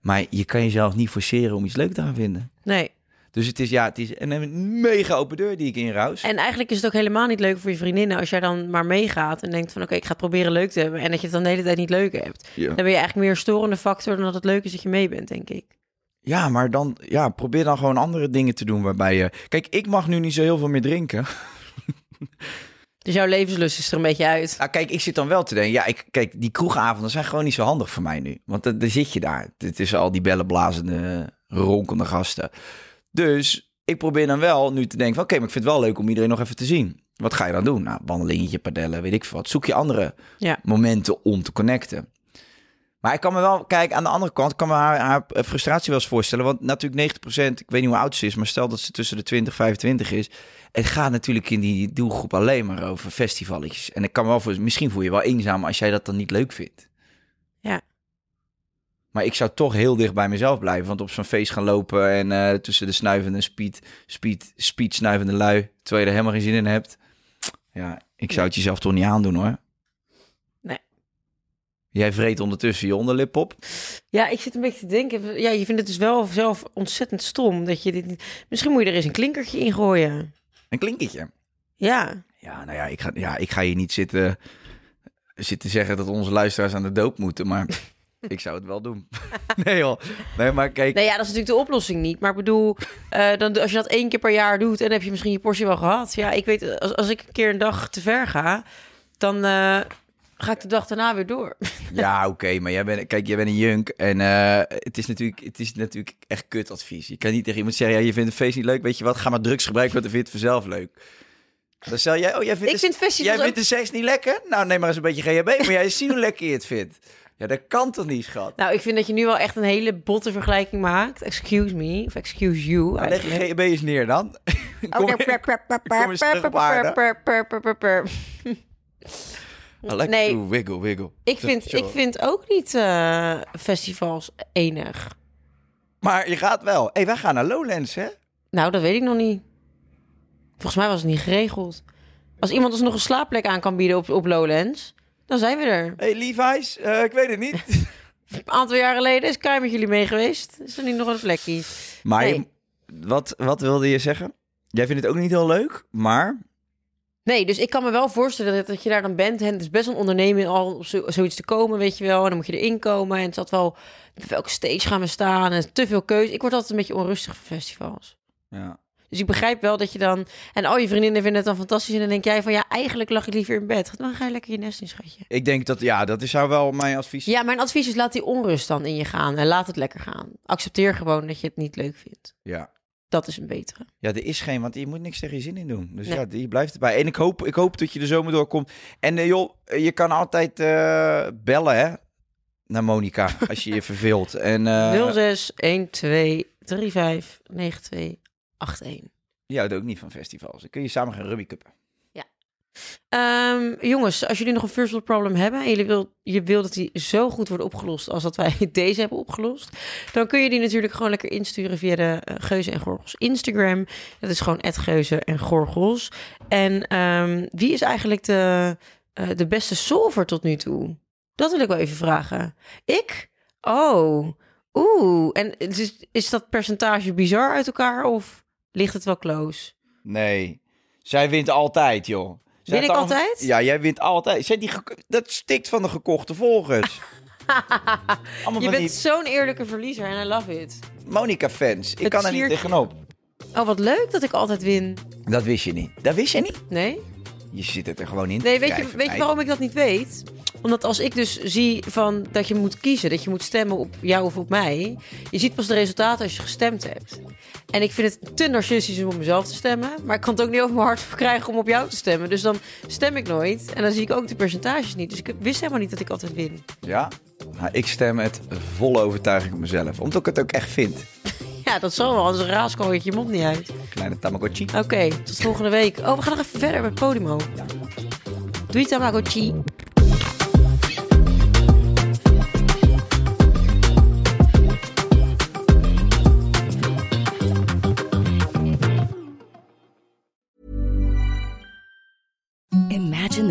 E: Maar je kan jezelf niet forceren om iets leuk te gaan vinden.
D: Nee.
E: Dus het is ja, het is een mega open deur die ik inruis.
D: En eigenlijk is het ook helemaal niet leuk voor je vriendinnen als jij dan maar meegaat en denkt van oké, ik ga het proberen leuk te hebben en dat je het dan de hele tijd niet leuk hebt.
E: Ja.
D: Dan ben je eigenlijk meer een storende factor dan dat het leuk is dat je mee bent, denk ik.
E: Ja, maar dan ja, probeer dan gewoon andere dingen te doen waarbij je... Kijk, ik mag nu niet zo heel veel meer drinken.
D: Dus jouw levenslust is er een beetje uit.
E: Nou, kijk, ik zit dan wel te denken. Ja, ik, kijk, die kroegavonden zijn gewoon niet zo handig voor mij nu. Want dan, dan zit je daar. Het is al die bellenblazende, ronkende gasten. Dus ik probeer dan wel nu te denken van... Oké, maar ik vind het wel leuk om iedereen nog even te zien. Wat ga je dan doen? Nou, wandelingetje, padellen, weet ik veel wat. Zoek je andere
D: Ja.
E: momenten om te connecten. Maar ik kan me wel, kijk, aan de andere kant kan me haar, haar frustratie wel eens voorstellen. Want natuurlijk 90%, ik weet niet hoe oud ze is, maar stel dat ze tussen de 20 en 25 is. Het gaat natuurlijk in die doelgroep alleen maar over festivalletjes. En ik kan me wel voor, misschien voel je je wel eenzaam als jij dat dan niet leuk vindt.
D: Ja.
E: Maar ik zou toch heel dicht bij mezelf blijven. Want op zo'n feest gaan lopen en eh, tussen de snuivende speed, speed, speed snuivende lui, terwijl je er helemaal geen zin in hebt. Ja, ik zou het jezelf toch niet aandoen hoor.
D: Nee.
E: Jij vreet ondertussen je onderlip op.
D: Ja, ik zit een beetje te denken. Ja, je vindt het dus wel zelf ontzettend stom dat je dit. niet- Misschien moet je er eens een klinkertje in gooien.
E: Een klinkertje.
D: Ja.
E: Ja, nou ja, ik ga, ja, ik ga hier niet zitten, zitten zeggen dat onze luisteraars aan de doop moeten, maar ik zou het wel doen. nee joh. Nee, maar kijk.
D: Nou ja, dat is natuurlijk de oplossing niet. Maar ik bedoel, eh, dan, als je dat één keer per jaar doet, dan heb je misschien je portie wel gehad. Ja, ik weet, als, als ik een keer een dag te ver ga, dan eh, ga ik de dag daarna weer door.
E: Ja, oké, maar jij bent, kijk, jij bent een junk en eh, het, is natuurlijk, het is natuurlijk echt kut advies. Je kan niet tegen iemand zeggen, ja, je vindt een feest niet leuk, weet je wat, ga maar drugs gebruiken, want dan vind je het vanzelf leuk. Dan stel jij, oh, jij vindt,
D: Ik
E: de,
D: vind festivals
E: jij
D: ook-
E: vindt de seks niet lekker? Nou, neem maar eens een beetje GHB, maar jij ziet hoe lekker je het vindt. Ja, dat kan toch niet, schat?
D: Nou, ik vind dat je nu wel echt een hele botte vergelijking maakt. Excuse me, of excuse you.
E: Nou, leg je
D: eigenlijk.
E: GHB eens neer dan. Kom
D: Oh,
E: weer-
D: per, per, per,
E: kom eens terug
D: per,
E: op aarde.
D: per, per, per, per, per.
E: I like
D: Nee.
E: to wiggle, wiggle.
D: Ik vind, ik vind ook niet eh, festivals enig.
E: Maar je gaat wel. hey, wij gaan naar Lowlands, hè?
D: Nou, dat weet ik nog niet. Volgens mij was het niet geregeld. Als iemand ons nog een slaapplek aan kan bieden op, op Lowlands, dan zijn we er.
E: hey, Levi's, eh, ik weet het niet.
D: Een aantal jaar geleden is Kai met jullie mee geweest. Is er niet nog een plekje?
E: maar je-
D: Nee.
E: wat, wat wilde je zeggen? Jij vindt het ook niet heel leuk, maar...
D: Nee, dus ik kan me wel voorstellen dat, dat je daar dan bent. En het is best wel een onderneming al om zo- zoiets te komen, weet je wel. En dan moet je erin komen. En het zat wel, welke stage gaan we staan? En te veel keuze. Ik word altijd een beetje onrustig van festivals.
E: Ja.
D: Dus ik begrijp wel dat je dan... En al je vriendinnen vinden het dan fantastisch. En dan denk jij van, ja, eigenlijk lag ik liever in bed. Dan ga je lekker je nest in, schatje.
E: Ik denk dat, ja, dat is zou wel mijn advies.
D: Ja, mijn advies is laat die onrust dan in je gaan. En laat het lekker gaan. Accepteer gewoon dat je het niet leuk vindt.
E: ja.
D: Dat is een betere.
E: Ja, er is geen, want je moet niks tegen je zin in doen. Dus
D: Nee.
E: ja, die blijft erbij. En ik hoop, ik hoop dat je er zomaar doorkomt. En eh, joh, eh, je kan altijd eh, bellen, hè? Naar Monica als je je verveelt. En, eh
D: 06 12 35 92 81.
E: je houdt ook niet van festivals. Dan kun je samen gaan rugbycuppen.
D: Ehm, jongens, als jullie nog een first world problem hebben en jullie wil, je wil dat die zo goed wordt opgelost als dat wij deze hebben opgelost, dan kun je die natuurlijk gewoon lekker insturen via de eh, Geuze en Gorgels Instagram. Dat is gewoon @geuze en Gorgels. En ehm, wie is eigenlijk de, eh, de beste solver tot nu toe? Dat wil ik wel even vragen. Ik? Oh, oeh. En het is, is dat percentage bizar uit elkaar of ligt het wel close?
E: Nee, zij wint altijd, joh. Zij
D: Win
E: heeft
D: ik
E: allemaal-
D: altijd?
E: Ja, jij wint altijd. Zet die geko- dat stikt van de gekochte volgers. Allemaal
D: Je
E: van
D: bent zo'n eerlijke verliezer en I love it.
E: die Monica-fans. Ik
D: Het
E: kan er niet
D: sliertje.
E: tegenop.
D: Oh, wat leuk dat ik altijd win.
E: Dat wist je niet. Dat wist je niet.
D: Nee?
E: Je zit het er gewoon in.
D: Nee, weet je,
E: Schrijven,
D: weet je
E: meid.
D: waarom ik dat niet weet? Omdat als ik dus zie van dat je moet kiezen, dat je moet stemmen op jou of op mij, je ziet pas de resultaten als je gestemd hebt. En ik vind het te narcistisch om op mezelf te stemmen, maar ik kan het ook niet over mijn hart verkrijgen om op jou te stemmen. Dus dan stem ik nooit en dan zie ik ook de percentages niet. Dus ik wist helemaal niet dat ik altijd win.
E: Ja, nou, ik stem met volle overtuiging op mezelf. Omdat ik het ook echt vind.
D: Ja, dat zal wel, anders raas gewoon je mond niet uit.
E: Kleine Tamagotchi.
D: Oké, tot volgende week. Oh, we gaan nog even verder met Podimo. Doei Tamagotchi.
G: Imagine